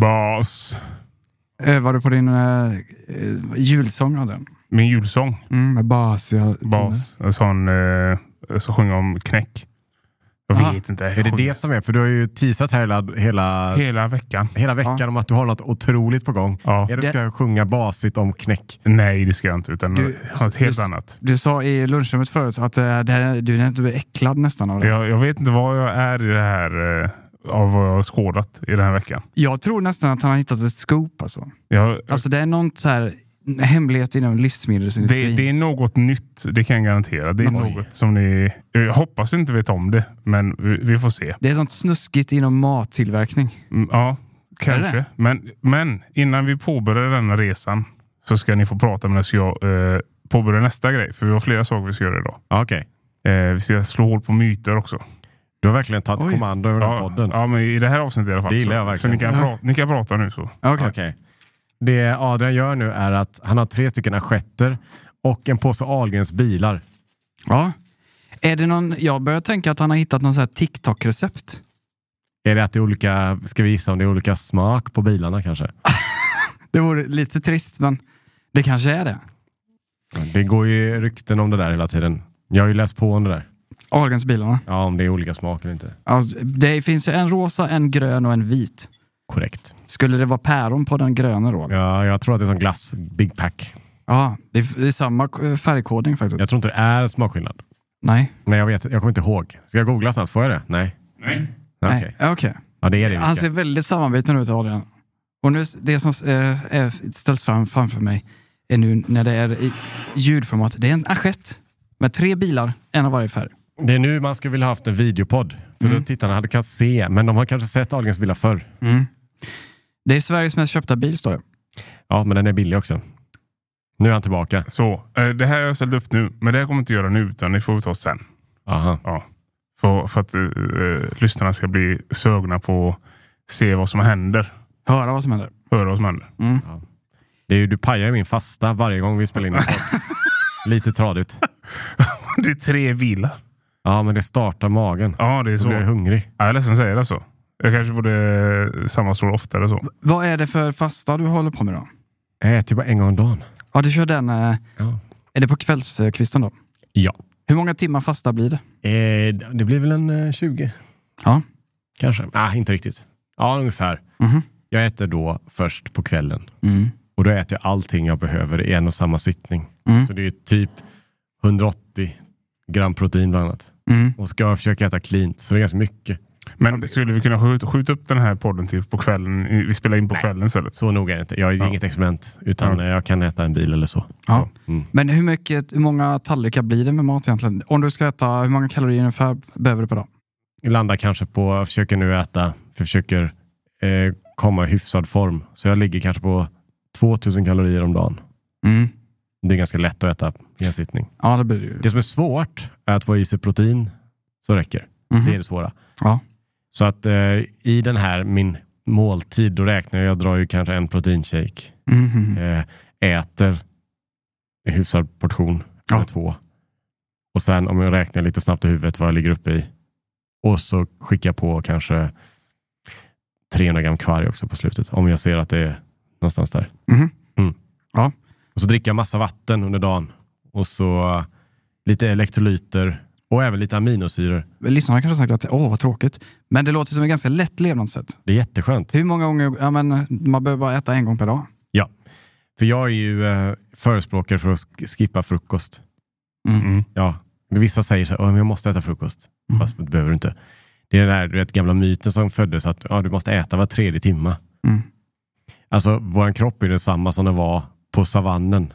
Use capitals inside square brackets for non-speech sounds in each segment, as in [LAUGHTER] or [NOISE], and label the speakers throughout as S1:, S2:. S1: Bas.
S2: Eh, var det på din eh, eh, julsång av den?
S1: Min julsång.
S2: Mm, med basiga
S1: Bas.
S3: Mm.
S1: En sån eh, som sjunger om knäck. Jag
S2: Aha.
S1: vet inte.
S3: Är det det som är? För du har ju teasat hela, hela, hela.
S1: Hela veckan.
S3: veckan
S2: Ja.
S3: om att du har något otroligt på gång.
S1: Ja.
S3: Är det att du ska sjunga basigt om knäck?
S1: Nej, det ska jag inte. Utan
S2: Du-
S1: något helt
S2: du-
S1: annat.
S2: Du sa i lunchrummet förut att eh, det här, du, är- du är äcklad nästan av det.
S1: Jag, jag vet inte vad jag är i det här. Eh, av vad jag har skådat i den här veckan.
S2: Jag tror nästan att han har hittat ett scoop. Alltså,
S1: Jag,
S2: alltså det är någon så här hemlighet inom livsmedelsindustrin.
S1: det, det är något nytt, det kan jag garantera. Det är
S2: Oj.
S1: något som ni... Jag hoppas inte vet om det, men vi, vi får se.
S2: Det är sånt snuskigt inom mattillverkning.
S1: Mm, Ja,
S2: Är
S1: kanske.
S2: det?
S1: Men, men innan vi påbörjar denna resan så ska ni få prata medan jag eh, påbörjar nästa grej. För vi har flera saker vi ska göra idag.
S3: Ja, Okej.
S1: Eh, vi ska slå hål på myter också.
S3: Du har verkligen tagit
S2: Oj.
S3: kommando över den här
S1: Ja,
S3: podden.
S1: ja, men i det här avsnittet i alla fall.
S3: Det gillar jag
S1: så, så ni,
S3: verkligen.
S1: kan pra- ni kan prata nu. så.
S2: Okej.
S3: Okej. Det Adrian gör nu är att han har tre stycken assietter och en påse Ahlgrens bilar.
S2: Ja. Är det någon, jag börjar tänka att han har hittat någon så här TikTok-recept.
S3: Är det att det är olika, ska vi gissa om det är olika smak på bilarna kanske?
S2: Det vore lite trist, men det kanske är det.
S3: Det går ju rykten om det där hela tiden. Jag har ju läst på om det där.
S2: Ahlgrens bilarna.
S3: Ja, om det är olika smak eller inte.
S2: Alltså, det finns ju en rosa, en grön och en vit.
S3: Korrekt.
S2: Skulle det vara päron på den gröna då? Ja,
S3: Ja, jag tror att det är som glass, Big Pack.
S2: det, är, det är samma k- färgkodning faktiskt.
S3: Jag tror inte det är smakskillnad.
S2: Nej.
S3: Nej, jag vet Jag kommer inte ihåg. Ska jag googla snabbt? Får jag det? Nej.
S1: Nej.
S3: Okej.
S2: Nej. Ja, okej.
S3: Ja, det är det vi
S2: Han
S3: ska.
S2: ser väldigt sammanbiten ut, Adrian. Och nu, det som eh, är, ställs fram framför mig är nu när det är i ljudformat. Det är en assiett med tre bilar, en av varje färg.
S3: Det är nu man skulle vilja haft en videopodd. För då tittarna hade kunnat se. Men de har kanske sett Ahlgrens bilar förr.
S2: Det är Sveriges mest köpta bil, står det.
S3: Ja, men den är billig också. Nu är han tillbaka.
S1: Så, eh, det här har jag ställt upp nu, men det här kommer jag inte göra nu, utan det får vi ta sen.
S3: Aha.
S1: Ja. För, för att eh, eh, lyssnarna ska bli sögna på att se vad som händer.
S2: Höra vad som händer.
S1: Höra vad som händer.
S3: Mm. Det är ju, du pajar ju min fasta varje gång vi spelar in en [LAUGHS] podd. Lite tradigt.
S1: [LAUGHS] Det är tre bilar.
S3: Ja, men det startar magen.
S1: Ja, det är
S3: Då
S1: så.
S3: blir jag hungrig.
S1: Ja, Jag är ledsen att säga det så. Jag kanske borde eh, sammanstråla oftare så.
S2: Vad är det för fasta du håller på med då?
S3: Jag äter ju bara en gång om dagen.
S2: Ja, du kör den... Eh,
S3: Ja.
S2: är det på kvällskvisten då?
S3: Ja.
S2: Hur många timmar fasta blir det?
S3: Eh, det blir väl en eh, 20
S2: Ja.
S3: kanske. Ah, inte riktigt. Ja, ungefär.
S2: Mhm.
S3: Jag äter då först på kvällen.
S2: Mm.
S3: Och då äter jag allting jag behöver i en och samma sittning.
S2: Mm.
S3: Så det är typ 180 gram protein bland annat.
S2: Mm.
S3: Och ska jag försöka äta cleant, så det är ganska mycket.
S1: Men skulle vi kunna skjuta, skjuta upp den här podden till på kvällen? I- Vi spelar in på kvällen istället.
S3: Så noga är det inte. Jag är
S1: Ja.
S3: inget experiment, utan eh, jag kan äta en bil eller så.
S2: Ja.
S3: Mm.
S2: Men hur, mycket, hur många tallrikar blir det med mat egentligen? Om du ska äta, hur många kalorier ungefär behöver du per dag?
S3: Jag landar kanske på, jag försöker nu äta, jag försöker eh, komma i hyfsad form. Så jag ligger kanske på 2000 kalorier om dagen. Det är ganska lätt att äta i en sittning.
S2: Ja, det blir Mm. det ju.
S3: Det som är svårt är att få i sig protein så räcker.
S2: Mhm.
S3: Det är det svåra.
S2: Ja.
S3: Så att eh, i den här min måltid, då räknar jag, jag drar ju kanske en proteinshake,
S2: Mhm.
S3: eh, äter en hyfsad portion,
S2: Ja.
S3: eller två. Och sen om jag räknar lite snabbt i huvudet vad jag ligger uppe i. Och så skickar jag på kanske 300 gram kvarg också på slutet, om jag ser att det är någonstans där.
S2: Mhm.
S3: Mm.
S2: Ja.
S3: Och så dricka massa vatten under dagen. Och så eh, lite elektrolyter och även lite aminosyror.
S2: Lyssnarna kanske tänker att åh, vad tråkigt. Men det låter som ett ganska lätt levnadssätt.
S3: Det är jätteskönt.
S2: Hur många gånger, ja men man behöver bara äta en gång per dag.
S3: Ja. För jag är ju eh, förespråkare för att sk- skippa frukost.
S1: Mm.
S3: Ja. Vissa säger så här, "Åh, men jag måste äta frukost.
S2: Mm.
S3: Fast det behöver du inte. Det är den här du vet, gamla myten som föddes att ja, du måste äta var tredje timma.
S2: Mm.
S3: Alltså, vår kropp är densamma som den var på savannen.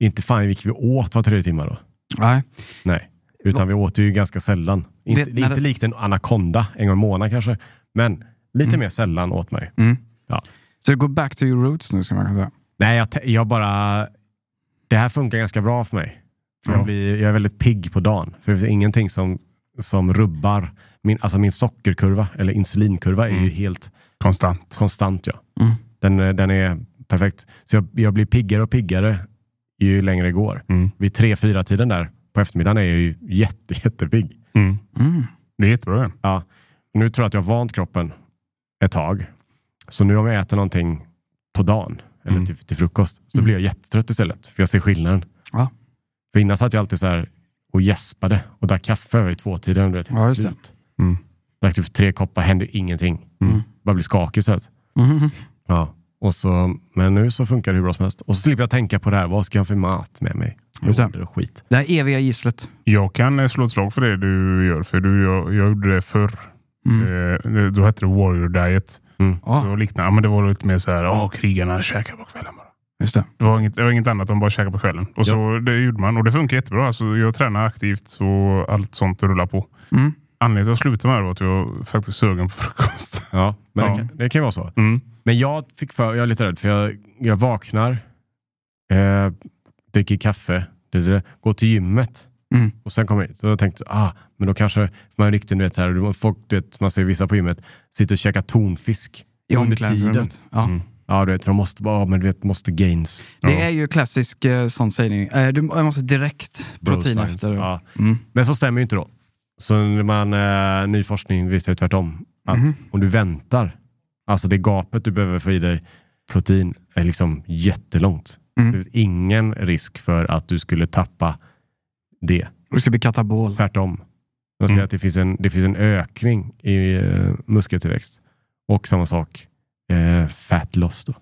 S3: Inte fan gick vi åt var tredje timme då.
S2: Nej.
S3: Nej, utan vi åt ju ganska sällan. Inte,
S2: Det-
S3: det,
S2: när
S3: inte
S2: det-
S3: likt en anakonda en gång i månaden kanske, men lite
S2: Mm.
S3: mer sällan åt mig.
S2: Så gå back to your roots nu, ska man kunna säga.
S3: Nej, jag, te- jag bara... Det här funkar ganska bra för mig. För
S2: Ja.
S3: jag, blir, jag är väldigt pigg på dagen. För det finns ingenting som, som rubbar min, alltså min sockerkurva, eller insulinkurva, är ju helt
S1: Konstant.
S3: konstant. Ja.
S2: Mm.
S3: Den, eh, den är perfekt. Så jag, jag blir piggare och piggare ju längre det går.
S1: Mm.
S3: Vid tre, fyra tiden där på eftermiddagen är jag ju jätte, [LAUGHS] jättepigg.
S1: Mm.
S2: Mm.
S1: Det är jättebra det.
S3: Ja. Nu tror jag att jag har vant kroppen ett tag. Så nu om jag äter någonting på dagen, eller
S1: Mm.
S3: till, till frukost, så blir jag jättetrött istället. För jag ser skillnaden.
S2: Ja.
S3: För innan satt jag alltid så här och gäspade och drack kaffe vid tvåtiden. Du vet, till
S2: Ja, just det.
S3: slut.
S1: Mm.
S3: Drack typ tre koppar, hände ju ingenting.
S2: Mm.
S3: Bara blir skakig istället.
S2: Mhm.
S3: Ja. Och så, men nu så funkar det hur bra som helst. Och så slipper jag tänka på det här, vad ska jag ha för mat med mig?
S2: Just det.
S3: Lådor och skit.
S2: Det här eviga gisslet.
S1: Jag kan eh, slå ett slag för det du gör, för du, jag, jag gjorde det förr. Eh, då hette det Warrior Diet.
S2: Ja,
S1: Det var liknande, ja, men det var lite mer så här, åh, krigarna käkar på kvällen bara.
S2: just det.
S1: Det var inget, det var inget annat, de bara käkade på kvällen. Och så det gjorde man och det funkar jättebra. Alltså, jag tränar aktivt och allt sånt rullar på.
S2: Mm.
S1: Anledningen till att jag slutade med det var att jag faktiskt sög en på frukost.
S3: Ja, men
S1: Ja.
S3: Det, kan, det kan ju vara så.
S1: Mm.
S3: Men jag fick för, jag är lite rädd för jag, jag vaknar, eh, dricker kaffe, det, det, det, går till gymmet
S2: Mm.
S3: och sen kommer jag hit. Så jag tänkte, ah, men då kanske, man är riktigt, du vet, så här, du- folk, du vet, man ser vissa på gymmet, sitter och käkar tonfisk
S2: I
S3: under
S2: omklädningsrummet.
S3: tiden.
S2: Ja.
S3: Ja, du vet, de måste, bara, ah, men du vet, måste gains.
S2: Det är ju klassisk eh, sån sägning. Eh, du jag måste direkt
S3: Bro
S2: protein
S3: science.
S2: efter.
S3: Ja.
S2: Mm.
S3: Men så stämmer ju inte då. Så när man, eh, ny forskning visar ju tvärtom. Att
S2: Mhm.
S3: om du väntar, alltså det gapet du behöver få i dig protein är liksom jättelångt.
S2: Mm.
S3: Det finns ingen risk för att du skulle tappa det.
S2: Du ska bli katabol.
S3: Tvärtom. Jag
S2: Mm.
S3: säger att det finns, en, det finns en ökning i eh, muskeltillväxt. Och samma sak, eh, fat loss då.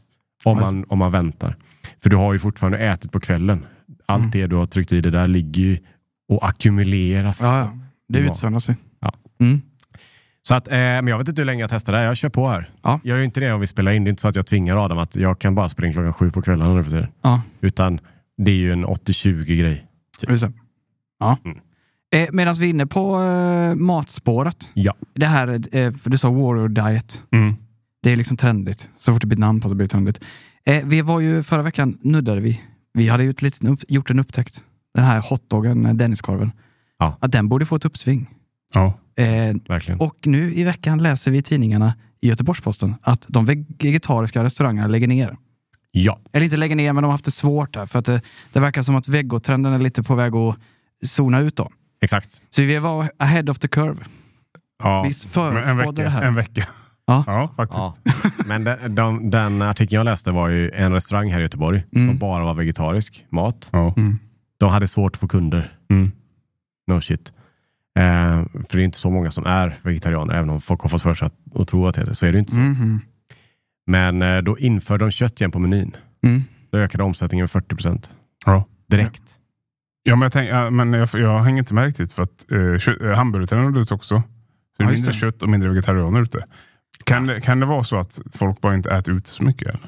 S3: Om
S2: Alltså.
S3: man, om man väntar. För du har ju fortfarande ätit på kvällen. Allt
S2: Mm.
S3: det du har tryckt i det där ligger ju och ackumuleras.
S2: Ja, ja. Det
S3: Ja.
S2: utsöndras ju.
S3: Ja.
S2: Mm.
S3: Så att, eh, men jag vet inte hur länge jag testar det här. Jag kör på här.
S2: Ja.
S3: Jag gör ju inte det om vi spelar in. Det är inte så att jag tvingar Adam att jag kan bara springa klockan sju på kvällarna nu för tiden.
S2: Ja,
S3: Utan det är ju en 80-20 grej.
S2: just det. Ja.
S3: Mm.
S2: Eh, Medan vi är inne på eh, matspåret.
S3: Ja.
S2: Det här, eh, för du sa warrior diet.
S1: Mm.
S2: Det är liksom trendigt. Så fort det blir ett namn på att det blir trendigt. Eh, vi var ju, förra veckan nuddade vi. Vi hade ju ett litet, upp- gjort en upptäckt. Den här hotdoggen, eh, Denniskorven.
S3: Ja.
S2: Att den borde få ett uppsving.
S1: Ja.
S2: Eh,
S3: Verkligen.
S2: och nu i veckan läser vi i tidningarna i Göteborgs-Posten att de vegetariska restaurangerna lägger ner.
S3: Ja.
S2: Eller inte lägger ner, men de har haft det svårt där. För att det, det verkar som att vegotrenden är lite på väg att zona ut då.
S3: Exakt.
S2: Så vi var ahead of the curve.
S1: Ja.
S2: Visst förutspådde
S1: Men [LAUGHS] en vecka,
S2: det här?
S1: En vecka.
S2: Ja.
S1: faktiskt.
S3: Men den, den, den artikeln jag läste var ju en restaurang här i Göteborg
S2: Mm.
S3: som bara var vegetarisk mat.
S1: Ja.
S3: De hade svårt att få kunder.
S1: Mm.
S3: No shit. Eh, för det är inte så många som är vegetarianer, även om folk har fått för sig att och tro att det är det. Så är det ju inte så.
S2: Mhm.
S3: Men eh, då införde de kött igen på menyn.
S2: Mm.
S3: Då ökade omsättningen med 40 procent.
S1: Ja.
S3: Direkt.
S1: Ja, men jag, tänk, ja, men jag, jag hänger inte med riktigt för att eh, kö- eh, hamburgertrenden har dött också. Så det
S2: Ja,
S1: är
S2: just
S1: mindre
S2: det.
S1: kött och mindre vegetarianer ute. Kan, det- kan det vara så att folk bara inte äter ut så mycket? Eller?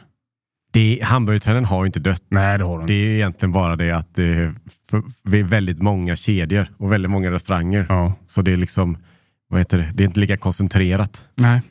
S3: Det, hamburgertrenden har ju inte dött.
S1: Nej, det har de inte.
S3: Det är ju egentligen bara det att det är, f- det är väldigt många kedjor och väldigt många restauranger.
S1: Ja.
S3: Så det är liksom, vad heter det, det är inte lika koncentrerat.
S2: Nej.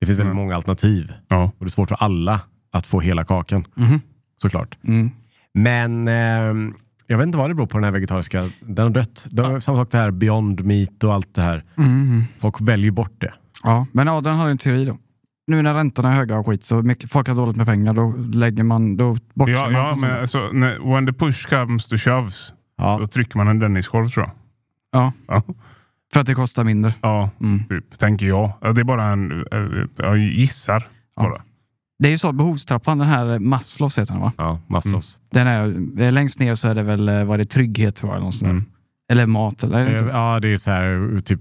S3: Det finns väldigt
S1: Mm.
S3: många alternativ
S1: Ja. Mm-hmm.
S3: och det är svårt för alla att få hela kakan
S2: Mhm.
S3: såklart.
S2: Mm.
S3: Men ehm, jag vet inte vad det beror på den här vegetariska. Den har dött. Det var samma sak det här Beyond Meat och allt det här.
S2: Mhm.
S3: Folk väljer bort det.
S2: Ja, men Adrian hade en teori då. Nu när räntorna är höga och skit, så mycket, folk har dåligt med pengar, då lägger man, då bortser
S1: Ja,
S2: man
S1: ja
S2: från
S1: men
S2: sånt.
S1: alltså, när, when the push comes to shoves, då
S3: Ja.
S1: trycker man en Denniskorv tror jag.
S2: Ja,
S1: Ja,
S2: för att det kostar mindre.
S1: ja
S2: Mm.
S1: typ, tänker jag. Ja, Det är bara en... eh, Jag gissar
S2: Ja.
S1: bara.
S2: Det är ju så att behovstrappan, den här Maslows heter den va?
S3: Ja, Maslows.
S2: Den är, eh, längst ner så är det väl, eh, vad är det, trygghet tror jag. Någonstans.
S1: Mm.
S2: Eller mat eller jag vet inte.
S3: Eh, Ja, det är så här typ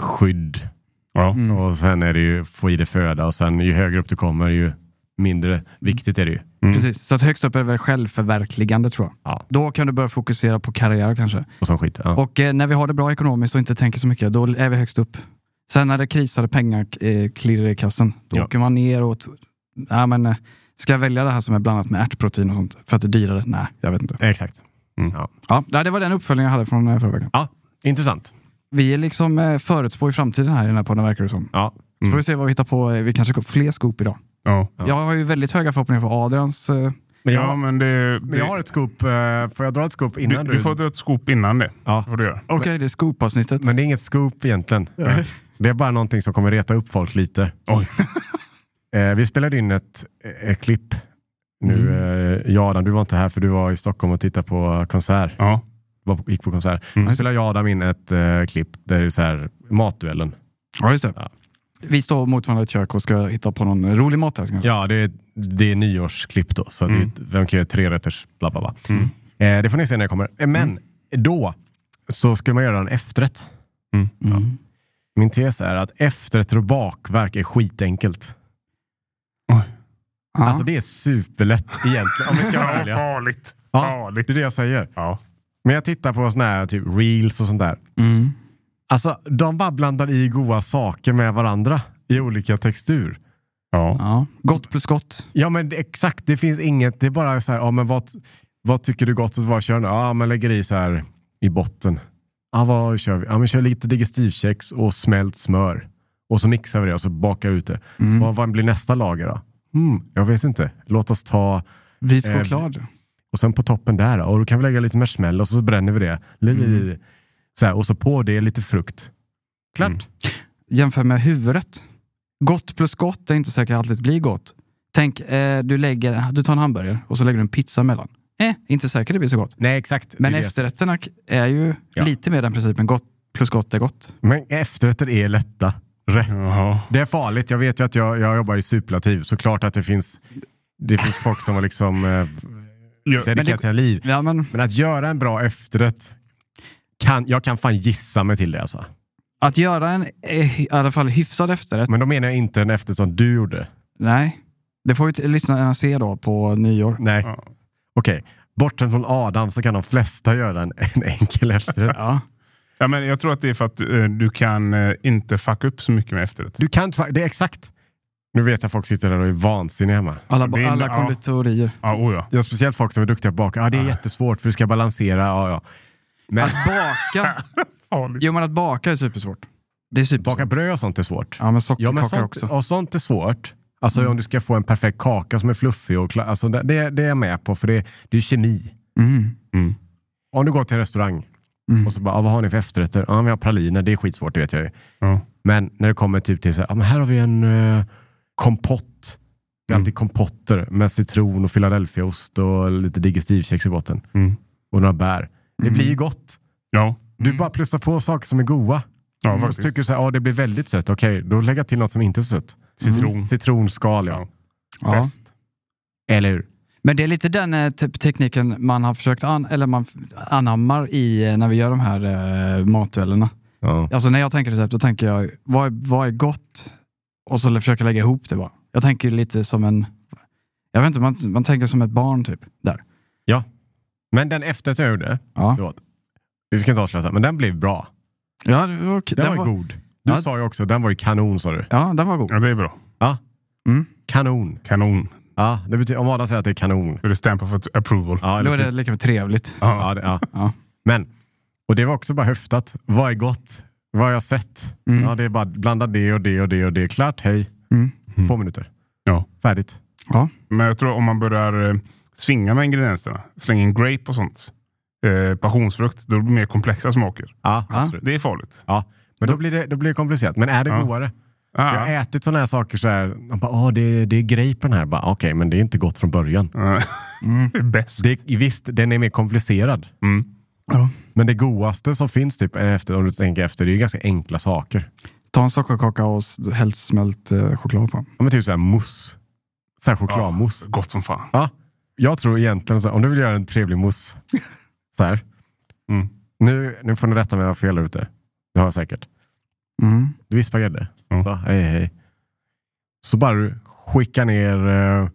S3: skydd.
S1: Ja.
S2: Mm.
S3: Och sen är det ju få i dig föda och sen ju högre upp du kommer ju mindre viktigt är det ju.
S2: Precis, så att högst upp är det väl självförverkligande tror jag.
S3: Ja.
S2: Då kan du börja fokusera på karriär kanske.
S3: Och sån skit. Ja.
S2: Och eh, när vi har det bra ekonomiskt och inte tänker så mycket, då är vi högst upp. Sen när det krisar och pengar eh, klirrar i kassen, då
S3: Ja.
S2: åker man ner och... t- Ja, men, eh, ska jag välja det här som är blandat med ärtprotein och sånt för att det är dyrare? Nej, jag vet inte.
S3: Exakt.
S2: Ja, nej, det var den uppföljningen jag hade från eh, förra veckan.
S3: Ja, intressant.
S2: Vi är liksom eh, förutspå i framtiden här i den här podden verkar det som.
S3: Ja.
S2: Så får vi se vad vi hittar på. Eh, Vi kanske får fler scoop idag.
S1: Ja.
S2: Jag har ju väldigt höga förhoppningar på Adrians. Eh,
S3: Men jag,
S1: ja, men det...
S3: men
S1: det
S3: jag har ett scoop. eh, Får jag dra ett scoop
S1: du,
S3: innan du?
S1: du får dra ett scoop innan det.
S3: Ja.
S1: Det får du göra.
S2: Okej, det är scoop-avsnittet.
S3: Men det är inget scoop egentligen. Det är bara någonting som kommer reta upp folk lite.
S1: Oj.
S3: [LAUGHS] Eh, vi spelade in ett, eh, klipp nu.
S2: Mm.
S3: Eh, jag och Adam, du var inte här för du var i Stockholm och tittade på konsert.
S1: Ja.
S3: Var på, gick på konsert.
S1: Mm.
S3: Då spelade jag och Adam in ett eh, klipp där det är så här, matduellen.
S2: Ja, just det.
S3: Ja.
S2: Vi står mot varandra i ett kök och ska hitta på någon rolig mat här. kanske.
S3: Ja, det är, det är nyårsklipp då. Så
S1: Mm.
S3: det är, vem kan göra tre rätters bla bla bla. Eh, det får ni se när jag kommer. Eh, men då så skulle man göra en efterrätt.
S2: Mm.
S3: Min tes är att efterrätter och bakverk är skitenkelt.
S2: Ja.
S3: Alltså det är superlätt egentligen. Om vi [LAUGHS] ska vara
S1: Ja,
S3: ärliga.
S1: farligt.
S3: Ja, det
S1: Farligt.
S3: är det jag säger.
S1: Ja.
S3: Men jag tittar på såna här typ reels och sånt där.
S2: Mm.
S3: Alltså de bara blandar i goda saker med varandra i olika textur.
S1: Ja.
S2: Ja. Gott plus gott.
S3: Ja men det, exakt, det finns inget. Det är bara så här, ja men vad, vad tycker du gott och vad kör du? Ja men lägger i så här i botten. Ja vad kör vi? Ja men kör lite digestivkex och smält smör. Och så mixar vi det och så bakar ut det. Vad, vad blir nästa lager då? Hmm, jag vet inte. Låt oss ta
S2: Vit
S3: Eh,
S2: choklad.
S3: Och sen på toppen där, och då kan vi lägga lite marshmallows och så bränner vi det. Lite- Så här, och så på det lite frukt. Klart.
S2: Jämför med huvudet. Gott plus gott är inte säkert alltid blir gott. Tänk, eh, du, lägger, du tar en hamburgare och så lägger du en pizza emellan. Eh, inte säkert det blir så gott.
S3: Nej, exakt.
S2: Men
S3: Det är det.
S2: efterrätterna k- är ju
S3: Ja.
S2: lite mer den principen. Gott plus gott är gott.
S3: Men efterrätter är lätta. Rätt.
S1: Jaha.
S3: Det är farligt. Jag vet ju att jag, jag jobbar i superlativ, så klart att det finns, det finns folk som har liksom eh,
S1: Ja.
S3: dedikerat sina liv.
S2: Ja, men
S3: Men att göra en bra efterrätt, kan, jag kan fan gissa mig till det alltså.
S2: att göra en eh, i alla fall hyfsad efterrätt.
S3: Men då menar jag inte en efterrätt som du gjorde.
S2: Nej, det får vi t- lyssnarna se då på nyår.
S3: Nej.
S1: Ja.
S3: Okej. Bortsett från Adam så kan de flesta göra en, en enkel efterrätt.
S2: Ja.
S1: Ja, men jag tror att det är för att eh, du kan eh, inte fucka upp så mycket med efterrätt.
S3: Du kan inte, fa- det är exakt. Nu vet jag att folk sitter där och är vansinniga hemma.
S2: Alla,
S1: Det är-
S2: alla
S1: ja.
S2: konditorier.
S1: Ja, oh ja.
S3: Ja, speciellt folk som är duktiga på att baka. Ja, det är jättesvårt för du ska balansera. Ja, ja. Men
S2: Att
S3: [LAUGHS]
S2: baka,
S1: Farligt.
S2: jo, men att baka är supersvårt. Det är supersvårt.
S3: baka bröd och sånt är svårt.
S2: typ Ja, men
S3: Ja, men
S2: sockerkakor
S3: sånt,
S2: också. Mm.
S3: och sånt är svårt. Alltså om du ska få en perfekt kaka som är fluffig och klar. Alltså, det, det, det är jag med på för det, det är kemi.
S2: Mm.
S3: Om du går till en restaurang och så bara, ja, vad har ni för efterrätter? Ja, vi har praliner. Det är skitsvårt, det vet jag ju.
S1: Ja.
S3: Men när det kommer typ till så här, ja, men här har vi en eh, kompott. Det är alltid kompotter med citron och philadelphiaost och lite digestivkex i botten.
S1: Mm.
S3: Och några bär. Det blir ju gott.
S1: Ja,
S3: Du bara plussar på saker som är goda.
S1: ja
S3: och så
S1: faktiskt.
S3: tycker du så här, ja det blir väldigt sött. Okej, då lägger jag till något som inte är så sött. Mm.
S1: Citron.
S3: Citronskal, ja.
S1: Ja.
S2: Ja.
S1: Zest.
S3: Eller hur?
S2: Men det är lite den eh, typ, tekniken man har försökt an- eller man f- anammar i eh, när vi gör de här eh, matduellerna.
S3: Ja.
S2: Alltså när jag tänker recept, då tänker jag vad är, vad är gott? Och så försöker jag lägga ihop det bara. Jag tänker ju lite som en, jag vet inte, man, man tänker som ett barn typ. Där.
S3: Men den efterrätt jag gjorde,
S2: Ja,
S3: det var, vi ska inte avslöja, men den blev bra.
S2: ja det var, okej.
S3: Den, var, god. Du
S2: Ja.
S3: sa ju också, den var ju kanon sa du.
S2: Ja, den var god.
S1: Ja, det är bra.
S3: Mm. Kanon.
S1: Kanon.
S3: Ja, det betyder, om Adam säger att det är kanon.
S1: För det stämpar för approval.
S3: Ja,
S2: Då
S3: eller typ.
S2: är det lika trevligt.
S3: Ja, det, ja.
S2: Ja.
S3: Men, och det var också bara höftat. Vad är gott? Vad har jag sett? Ja, det är bara blanda det och det och det och det. Klart, hej.
S2: Mm.
S3: Två minuter.
S1: Ja.
S3: Färdigt.
S2: Ja.
S1: Men jag tror om man börjar eh, svinga med ingredienserna, slänga in grape och sånt, eh, passionsfrukt, då blir det mer komplexa smaker.
S3: Ja,
S2: Ja.
S3: absolut.
S1: Det är farligt.
S3: Ja. Men då blir, det, då blir det komplicerat. Men är det
S1: Ja.
S3: godare?
S1: Ah,
S3: Jag har ätit sådana här saker så här. De bara, ah, det, är- det är grapen här. Bara, Okej, men det är inte gott från början.
S1: eh, det är [LAUGHS]
S3: Mm.
S1: bäst.
S3: Det är, visst, den är mer komplicerad.
S1: Mm.
S2: Ja.
S3: Men det godaste som finns, typ, efter, om du tänker efter, det är ju ganska enkla saker.
S2: Ta en sockerkaka och s- häll smält eh, choklad på.
S3: Ja, men typ så här mousse. Så här chokladmousse.
S1: Gott som fan.
S3: Ja, jag tror egentligen, så här, om du vill göra en trevlig mousse, så här.
S1: Mm.
S3: Nu, nu får ni rätta mig om jag har fel där ute. Det har jag säkert.
S2: Mm.
S3: Du vispar grädde.
S1: Mm.
S3: Va? Hej, hej. Så bara du skickar ner, eh,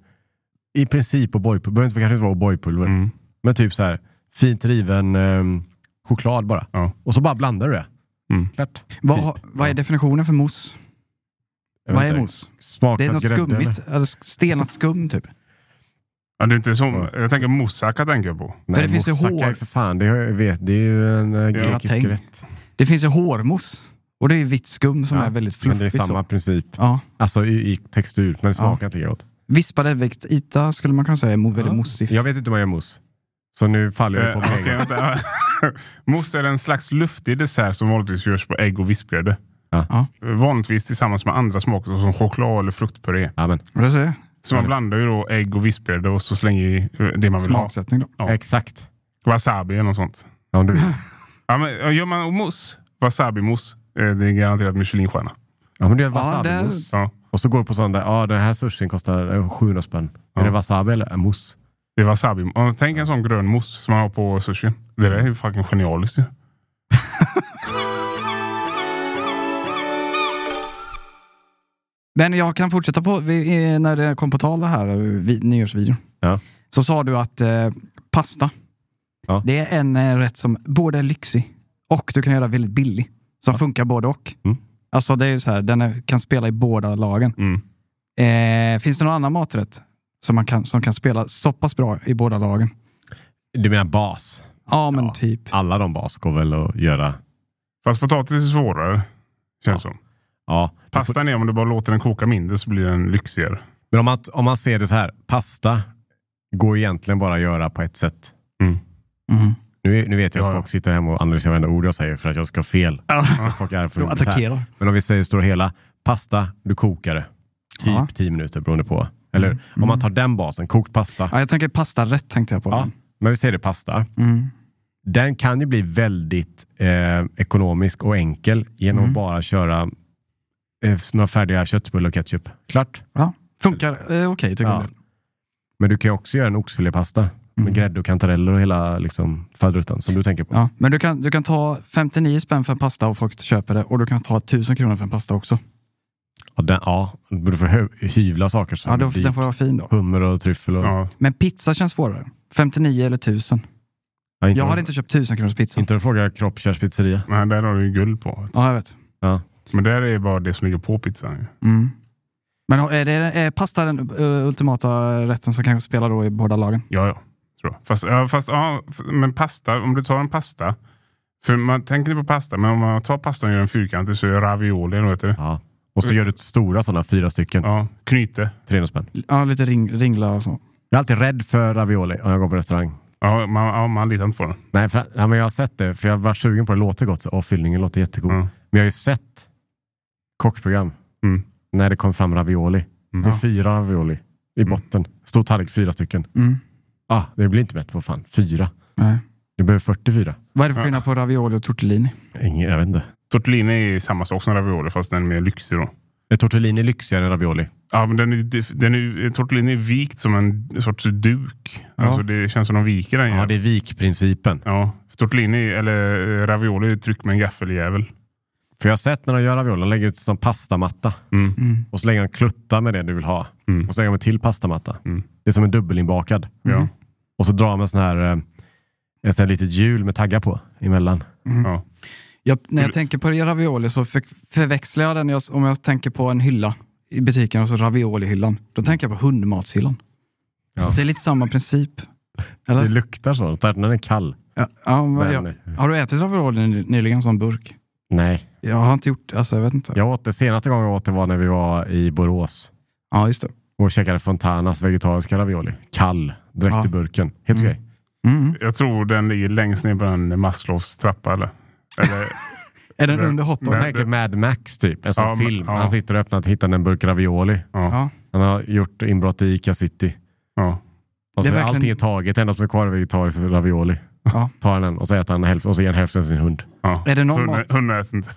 S3: i princip O'boy-pulver, behöver inte kanske inte vara O'boy-pulver,
S1: Mm.
S3: men typ så här fint riven eh, choklad bara.
S1: Ja.
S3: Och så bara blandar du det.
S1: Mm.
S3: Klart.
S2: Vad,
S3: Typ.
S2: har- vad är definitionen för mousse?
S3: Jag
S2: Vad
S3: vet
S2: är
S3: inte.
S2: mousse?
S3: Smakat
S2: Det är något
S3: grädde,
S2: skummigt,
S3: eller?
S2: eller stenat skum typ.
S1: Ja, det är inte som,
S3: Ja.
S1: Jag tänker moussaka tänker jag på.
S3: Nej,
S2: det finns ju
S3: moussaka
S2: hår.
S3: är för fan, det, har jag vet, det är ju en eh, grekisk
S2: tänk.
S3: rätt.
S2: Det finns ju hårmousse. Och det är ju vitt skum som
S3: Ja,
S2: är väldigt
S3: Men
S2: fluffigt.
S3: det är samma
S2: Så.
S3: princip.
S2: Ja.
S3: Alltså i, i textur, men det smakar inte lika gott.
S2: Vispade vektita skulle man kunna säga är mo- väldigt moussigt.
S3: Jag vet inte hur man gör mousse. Så nu faller jag
S1: Eh,
S3: på mig.
S1: okej, vänta. [LAUGHS] Mousse är en slags luftig dessert som vanligtvis görs på ägg och vispgrädde.
S3: Ja.
S1: Eh, Vanligtvis tillsammans med andra smaker som choklad eller fruktpuré.
S3: Ja, men,
S2: Vad det säger?
S1: Så
S3: Mm.
S1: man blandar ju då ägg och vispgrädde och så slänger i eh, det man vill ha.
S2: Smaksättning då.
S1: Ja.
S3: Exakt.
S1: Wasabi eller något sånt.
S3: Ja, [LAUGHS] om du vill.
S1: Ja, men, ja, gör man mousse, wasabi-mousse, eh, det är garanterat Michelinstjärna.
S3: Ja, men det är
S2: Ja,
S3: wasabi
S2: där,
S3: mousse.
S1: Ja,
S3: Och så går du på sån där, ja den här sushin kostar eh, 700 spänn.
S1: Ja.
S3: Är det wasabi eller mousse?
S1: det är wasabi. Ja, Tänk en sån grön mousse som man har på sushin. Det där är ju fucking genialiskt ju.
S2: Men jag kan fortsätta på, vi, eh, när det kom på tal det här, eh, vi, nyårsvideon.
S3: Ja.
S2: Så sa du att eh, pasta,
S3: Ja.
S2: det är en eh, rätt som både är lyxig och du kan göra väldigt billig. Som funkar både och.
S3: Mm.
S2: Alltså det är ju så här, den är, kan spela i båda lagen.
S1: Mm.
S2: Eh, finns det någon annan maträtt som, man kan, som kan spela så pass bra i båda lagen?
S3: Du menar bas?
S2: Ja, men
S3: Ja.
S2: typ.
S3: Alla de bas går väl att göra?
S1: Fast potatis är svårare, känns som.
S3: Ja. Du får-
S1: Pastan är om du bara låter den koka mindre så blir den lyxigare.
S3: Men om man, om man ser det så här, pasta går egentligen bara att göra på ett sätt.
S2: Mm.
S3: Nu, nu vet jag
S1: Ja,
S3: att
S1: ja.
S3: folk sitter hemma och analyserar varenda ord jag säger för att jag ska ha fel. Så Folk är för
S2: De
S3: så här.
S2: attackerar.
S3: Men om vi säger stora hela, pasta, du kokar det. Typ
S2: Ja.
S3: 10 minuter beroende på. Eller om man tar den basen, kokt pasta.
S2: Ja, jag tänker pastarätt tänkte jag på.
S3: Ja, men vi säger det pasta.
S2: Mm.
S3: Den kan ju bli väldigt eh, ekonomisk och enkel genom
S2: Mm.
S3: att bara köra eh, några färdiga köttbullar och ketchup. Klart.
S2: Ja. Funkar eh, okej tycker
S3: Ja.
S2: jag.
S3: Men du kan ju också göra en oxfilépasta med grädde och kantareller och hela liksom, faderuttan som du tänker på.
S2: Mm. Ja, men du kan, du kan ta 59 spänn för en pasta och folk köper det. Och du kan ta 1000 kronor för en pasta också.
S3: Ja, den, ja du får hö- hyvla saker som
S2: Ja, då,
S3: blir
S2: den får vara fin då.
S3: hummer och tryffel. Och,
S1: Ja.
S2: Men pizza känns svårare. 59 eller 1000.
S3: Ja, inte
S2: Jag
S3: har
S2: hade inte köpt 1000 kronors pizza.
S3: Inte att fråga Kroppkärs pizzeria.
S1: Men där har du ju guld på.
S2: Ja, jag vet.
S3: Ja.
S1: Men där är bara det som ligger på pizzan. ju.
S2: Mm. Men har- är, det, är pasta den eh, ultimata rätten som kanske spelar då i båda lagen?
S1: Ja, ja. Tror jag. Fast, ja, fast ja, f- men pasta, om du tar en pasta. För man tänker på pasta, men om man tar pastan och gör en fyrkantig så är det ravioli, eller vad heter det?
S3: Ja. Och så gör du stora sådana, fyra stycken.
S1: Ja, knyte.
S3: 300 spänn.
S2: Ja, lite ring, ringla och så.
S3: Jag är alltid rädd för ravioli om jag går på restaurang.
S1: Ja, man, ja, man litar inte på den.
S3: Nej, för, ja, men jag har sett det, för jag har varit sugen på det. Det låter gott. Så, åh, fyllningen låter jättegod.
S1: Mm.
S3: Men jag har ju sett kockprogram
S1: Mm.
S3: när det kom fram ravioli.
S1: Mm.
S3: Det är fyra ravioli i botten. Stor tallrik, fyra stycken.
S2: Mm.
S3: Ah, det blir inte mätt på fan. Fyra.
S2: Nej.
S3: Du behöver 44.
S2: Vad är det för
S1: Ja.
S2: skillnad på ravioli och tortellini?
S3: Ingen, jag vet inte.
S1: Tortellini är samma sak som ravioli, fast den är mer lyxig då.
S3: Är tortellini lyxigare än ravioli?
S1: Ja, men den är, den är, tortellini är vikt som en sorts duk. Alltså det känns som de viker den.
S3: Ja, det är vikprincipen.
S1: ja. Tortellini, eller eh, ravioli, är tryck med en gaffeljävel.
S3: För jag har sett när de gör ravioli, de lägger ut som pastamatta.
S1: Mm.
S3: Och så lägger de klutta med det du vill ha.
S1: Mm.
S3: Och så lägger de till pastamatta.
S1: Mm.
S3: Det är som en dubbelinbakad.
S1: Ja.
S3: Och så drar de en sån här, eh, en sån här litet hjul med taggar på emellan.
S1: Ja.
S2: Jag, när jag
S1: Förl-
S2: tänker på ravioli så för, förväxlar jag den jag, om jag tänker på en hylla i butiken och så raviolihyllan. Då tänker jag på hundmatshyllan.
S3: Mm. Ja.
S2: Det är lite samma princip. Eller?
S1: Mm.
S3: Det luktar så, särskilt när den är kall.
S2: Ja, ja, men jag,
S3: Men-
S2: har du ätit ravioli ny- nyligen som burk?
S3: Nej,
S2: Jag har inte gjort alltså jag vet inte.
S3: jag åt det senaste gången jag åt det var när vi var i Borås
S2: Ja, just det.
S3: och käkade Fontanas vegetariska ravioli. Kall, direkt
S2: Ja.
S3: i burken. Helt
S2: Mm.
S3: okej.
S2: Mm.
S1: Jag tror den ligger längst ner på den Maslows trappa. Eller? Eller,
S2: Är den
S1: Men-
S2: under hotdog?
S3: Jag
S1: men-
S3: tänker Mad Max typ, en sån
S1: Ja, men-
S3: film.
S1: ja.
S3: Han sitter och öppnar och hittar en burk ravioli.
S1: ja,
S2: Ja.
S3: Han har gjort inbrott i Ica City.
S1: ja.
S3: Och
S2: Det
S3: så
S2: är
S3: är
S2: verkligen-
S3: allting är taget, enda som är kvar är vegetarisk ravioli.
S2: Ja.
S3: Tar han den och så äter han hälften och så ger han hälften till sin hund.
S1: ja.
S2: Är det någon
S1: Hundra-
S2: mat-
S1: hundra äter inte.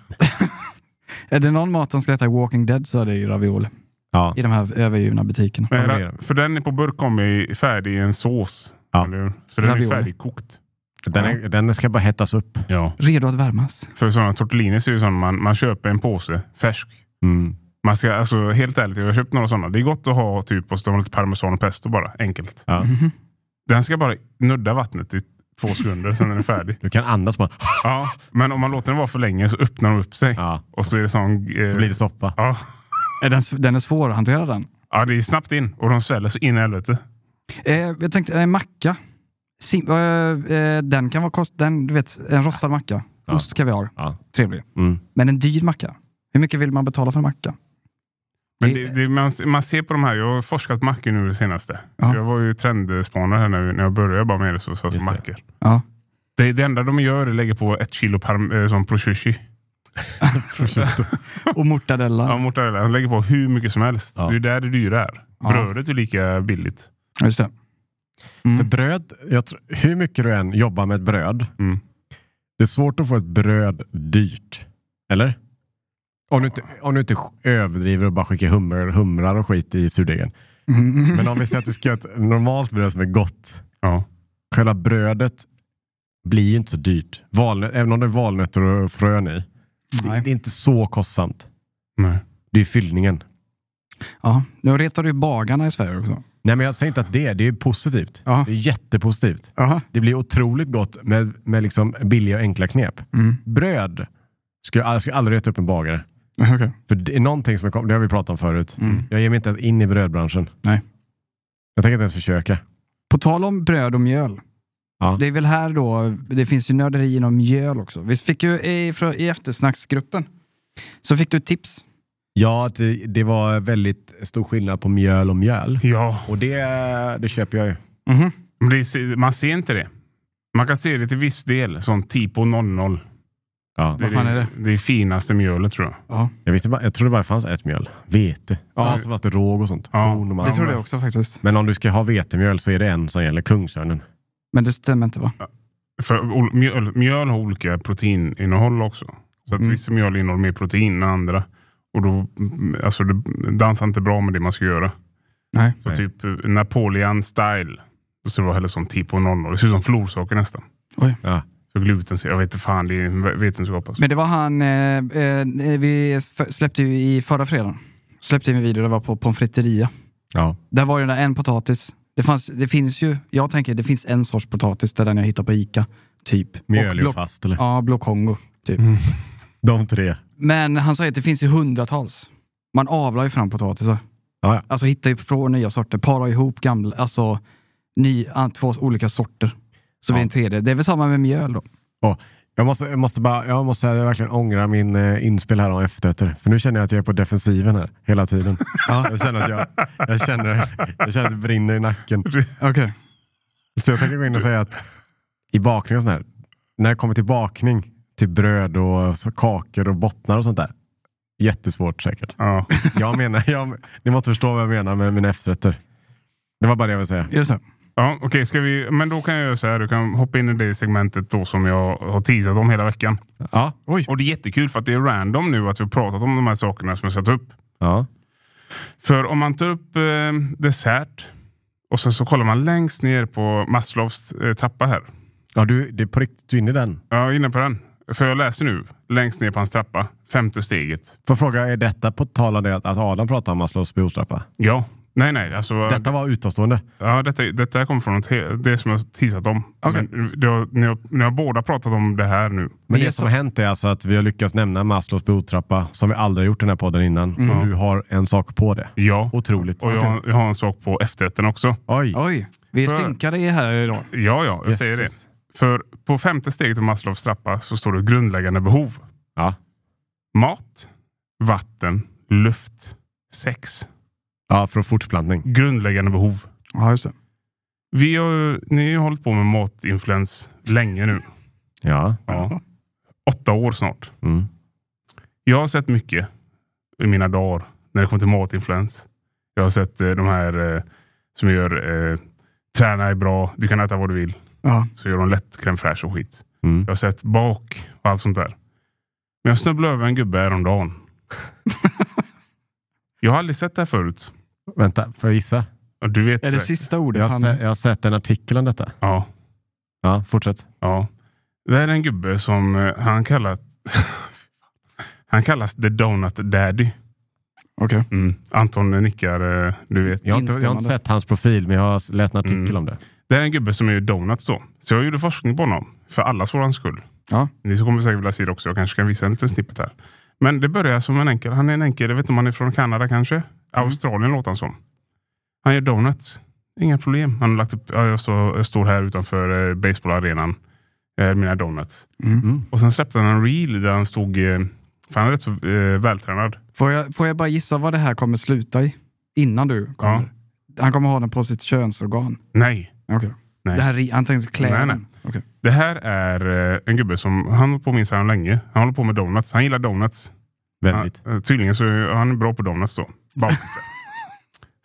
S2: Är det någon mat som ska äta i Walking Dead så är det ju ravioli.
S3: Ja.
S2: i de här övergivna butikerna.
S1: Men,
S3: Ja, det är
S1: ra- för den är på burk kommer i- färdig i en sås.
S3: Ja.
S1: eller hur? Så den är
S2: Ravioli.
S1: färdigkokt.
S3: Den, är, den ska bara hettas upp.
S1: Ja.
S2: Redo att värmas.
S1: För sådana tortellinis är ju sådana man, man köper en påse färsk.
S3: Mm.
S1: Man ska, alltså, helt ärligt, jag har köpt några sådana. Det är gott att ha typ och stå lite parmesan och pesto bara. Enkelt.
S3: Ja.
S2: Mhm.
S1: Den ska bara nudda vattnet i två sekunder, sen är den
S3: [LAUGHS]
S1: färdig.
S3: Du kan andas bara.
S1: Ja, men om man låter den vara för länge så öppnar den upp sig.
S3: Ja.
S1: Och så är det sån... eh,
S3: Så blir det soppa.
S1: Ja.
S2: Är Den, s- den är svår att hantera den.
S1: ja, det är snabbt in och de sväller så in i helvete.
S2: Eh, jag tänkte, eh, macka. Sim, eh, eh, den kan vara kost... Den, du vet, en rostad macka. Ost, kaviar.
S3: Ja.
S2: Trevlig.
S3: Mm.
S2: Men en dyr macka. Hur mycket vill man betala för en macka?
S1: Men
S2: Det-
S1: det, det, man, man ser på de här, jag har forskat mackor nu det senaste.
S2: Ja.
S1: Jag var ju trendspanare här nu, när jag började jobba med det. Så, så,
S3: Just det.
S1: mackor. [LAUGHS]
S2: Ja.
S1: Det, det enda de gör är att lägga på ett kilo parm, eh, sån
S3: [LAUGHS]
S1: prosciutto. [LAUGHS]
S2: Och mortadella.
S1: Ja, mozzarella. De lägger på hur mycket som helst.
S3: Ja.
S1: Det är där det dyra är.
S2: Ja.
S1: Brödet är lika billigt.
S2: Ja, Just det. Mm.
S3: För bröd, jag tror, hur mycket du än jobbar med ett bröd,
S1: Mm.
S3: det är svårt att få ett bröd dyrt. Eller? Om du inte, om du inte sk- överdriver och bara skickar humrar, humrar och skit i surdegen.
S2: Mm.
S3: Men om vi säger att du ska göra ett normalt bröd som är gott.
S1: Ja.
S3: Själva brödet blir ju inte så dyrt. Valnö- även om det är valnötter och frön i. Det,
S2: Nej.
S3: det är inte så kostsamt.
S1: Nej.
S3: Det är fyllningen.
S2: Ja. Nu retar du ju bagarna i Sverige också.
S3: Nej men jag säger inte att det är, det är positivt.
S2: Ja.
S3: Det är jättepositivt.
S2: Aha.
S3: Det blir otroligt gott med, med liksom billiga och enkla knep.
S1: [LAUGHS]
S2: Mm.
S3: Bröd ska jag, jag ska aldrig reta upp en bagare.
S2: Okay.
S3: För det är någonting som jag kom, det har vi pratat om förut.
S2: Mm.
S3: Jag ger mig inte ens in i brödbranschen.
S2: Nej.
S3: Jag tänker inte ens försöka.
S2: På tal om bröd och mjöl.
S3: Ja.
S2: Det är väl här då, det finns ju nörderi inom mjöl också. Vi fick ju i, frå- i eftersnacksgruppen, så fick du tips.
S3: Ja, det, det var väldigt stor skillnad på mjöl och mjöl.
S1: Ja,
S3: Och det, det köper jag ju.
S1: Mhm. men det, ser- man ser inte det. Man kan se det till viss del, typ som Tipo 00.
S3: Ja.
S1: Det
S2: Vad fan är det?
S1: Det är finaste mjölet tror jag.
S2: Ja,
S3: Jag, visste bara, jag trodde bara det fanns ett mjöl. Vete. Ja, så fanns det råg och sånt.
S1: Ja,
S3: Korn och
S2: det
S3: malm.
S2: tror jag också faktiskt.
S3: Men om du ska ha vetemjöl så är det en som gäller, Kungsörnen.
S2: Men det stämmer inte va?
S1: För ol- mjöl, mjöl har olika proteininnehåll också. Så att
S2: Mm.
S1: vissa mjöl innehåller mer protein än andra. Och då, mm, alltså, det dansar inte bra med det man ska göra.
S2: Nej.
S1: Så
S3: Nej.
S1: typ eh, Napoleon style. Då ska det vara heller som Tipo 00. Det ser ut som florsocker nästan.
S3: Ja.
S1: För gluten, jag vet inte fan, det är en vetenskap. Alltså.
S2: Men det var han, eh, eh, vi f- släppte ju i förra fredagen, släppte vi en video, det var på pommes friteria.
S3: ja.
S2: Där var ju den där en potatis. Det, fanns, det finns ju, jag tänker det finns en sorts potatis, det är den jag hittar på Ica. Typ. Och
S3: Mjöl är
S2: blå-
S3: ju Mm. fast eller?
S2: Ja, blå Kongo. Typ.
S3: De tre.
S2: Men han säger att det finns ju hundratals. Man avlar ju fram potatisar.
S3: Ja, ja.
S2: Alltså hittar ju från nya sorter, parar ihop gamla, alltså ny, an- två olika sorter. Så blir det en tredje. Det är väl samma med mjöl då?
S3: Åh, jag, måste, jag måste bara, jag måste säga, jag verkligen ångra min eh, inspel här om efterrätter. För nu känner jag att jag är på defensiven här hela tiden. Jag känner att jag, jag känner, jag känner att det brinner i nacken.
S2: Okej.
S3: Så jag tänker gå in och säga att i bakning och sånt här, när det kommer till bakning, till bröd och så, kakor och bottnar och sånt där. Jättesvårt säkert.
S1: Ja.
S3: Jag menar, jag, ni måste förstå vad jag menar med mina efterrätter. Det var bara det jag ville säga.
S2: Är det så?
S1: Ja, okej, ska vi, men då kan jag göra så här. Du kan hoppa in i det segmentet då som jag har teasat om hela veckan.
S3: Ja.
S2: Oj.
S1: Och det är jättekul för att det är random nu att vi har pratat om de här sakerna som jag ska ta upp.
S3: ja.
S1: För om man tar upp eh, dessert och sen så kollar man längst ner på Maslows eh, trappa här.
S3: Ja, du, det är på riktigt, du är inne i den.
S1: Jag är inne på den. För jag läser nu, längst ner på hans trappa, femte steget.
S3: Får jag fråga, är detta på tal om det att, att Adam pratar om Maslows behovstrappa?
S1: Ja. Nej, nej. Alltså,
S3: Detta var utomstående.
S1: Ja, detta, detta kommer från något, he- det som jag har teasat om.
S2: Okej.
S1: Men det har- ni, har, ni har båda pratat om det här nu.
S3: Men
S2: Det
S3: det,
S2: är
S3: som
S2: så-
S3: har hänt är alltså att vi har lyckats nämna Maslows behovstrappa som vi aldrig har gjort i den här podden innan. Och du har en sak på det.
S1: Ja.
S3: Otroligt.
S1: Och jag, jag har en sak på efterrätten också.
S3: Oj.
S2: Oj, vi är
S1: För-
S2: synkade i här idag.
S1: Ja, ja, jag
S3: Jösses.
S1: säger det. För på femte steget av Maslows trappa så står det grundläggande behov.
S3: Ja.
S1: Mat, vatten, luft, sex.
S3: ja, för fortplantning.
S1: Grundläggande behov.
S2: Ja, just det.
S1: Vi har, ju- ni har ju hållit på med matinfluens länge nu.
S3: Ja.
S1: Ja. Åtta år snart.
S3: Mm.
S1: Jag har sett mycket i mina dagar när det kommer till matinfluens. Jag har sett eh, de här eh, som gör eh, träna är bra, du kan äta vad du vill.
S2: Ja.
S1: Så gör de lätt crème fraîche och skit.
S3: Mm.
S1: Jag har sett bak och allt sånt där. Men jag snubblade över en gubbe häromdagen. Jag har aldrig sett det här förut.
S3: Vänta, får jag gissa?
S1: Ja, Du vet
S2: Är det
S1: säkert.
S2: sista ordet?
S3: Jag har,
S2: han,
S3: se, jag har sett en artikel om detta.
S1: Ja,
S3: Ja, fortsätt.
S1: ja. Det här är en gubbe som eh, han kallar... [LAUGHS] han kallas The Donut Daddy.
S2: Okej.
S1: Mm. Anton nickar, eh, du vet.
S3: Jag har, inte, jag har inte
S2: Instämmande.
S3: sett hans profil, men jag har läst en artikel
S1: Mm.
S3: om det.
S1: Det här är en gubbe som är donuts då. Så jag gjorde forskning på honom. För allas våran skull.
S2: Ja.
S1: Ni som kommer säkert vilja se det också. Jag kanske kan visa en liten snippet här. Men det börjar som en enkel. Han är en enkel. Jag vet inte om han är från Kanada kanske.
S2: Mm.
S1: Australien låter han som. Han gör donuts. Inga problem. Han har lagt upp, ja, jag, står, jag står här utanför eh, baseballarenan. Eh, mina donuts.
S2: Mm.
S1: Och sen släppte han en reel där han stod... Eh, för han är rätt så eh, vältränad.
S2: Får, jag, får jag bara gissa vad det här kommer sluta i? Innan du kommer. Han kommer ha den på sitt könsorgan.
S1: Nej.
S2: Okej.
S1: Nej.
S2: Det här, ri- han tänkte klä
S1: Nej,
S2: nej,
S1: nej.
S2: Okej.
S1: Det här är eh, en gubbe som, han har hållit på med Instagram länge. Han håller på med donuts. Han gillar donuts.
S3: Väldigt.
S1: Ja, eh, tydligen så är han bra på donuts då. Bakelse.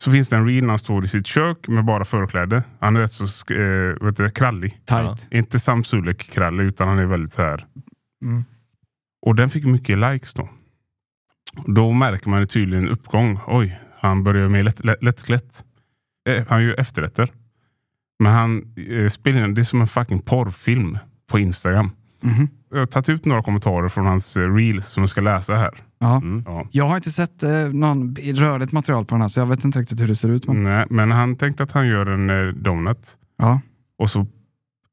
S1: så finns det en reel när han står i sitt kök med bara förkläde. Han är rätt så sk- eh, vet du, krallig.
S2: Tight.
S1: Inte Sam Sulek-krallig utan han är väldigt så här.
S2: Mm.
S1: Och den fick mycket likes då. Då märker man ju tydligen en uppgång. Oj, han börjar med lätt, lätt, lättklätt. Eh, han gör efterrätter. Men han eh, spelar in, det är som en fucking porrfilm på Instagram.
S2: Mhm.
S1: Jag har tagit ut några kommentarer från hans eh, reels som jag ska läsa här.
S2: Ja.
S1: Ja.
S2: Jag har inte sett eh, någon b- rörligt material på den här, så jag vet inte riktigt hur det ser ut. Men...
S1: Nej, men han tänkte att han gör en eh, donut.
S2: Ja.
S1: Och så,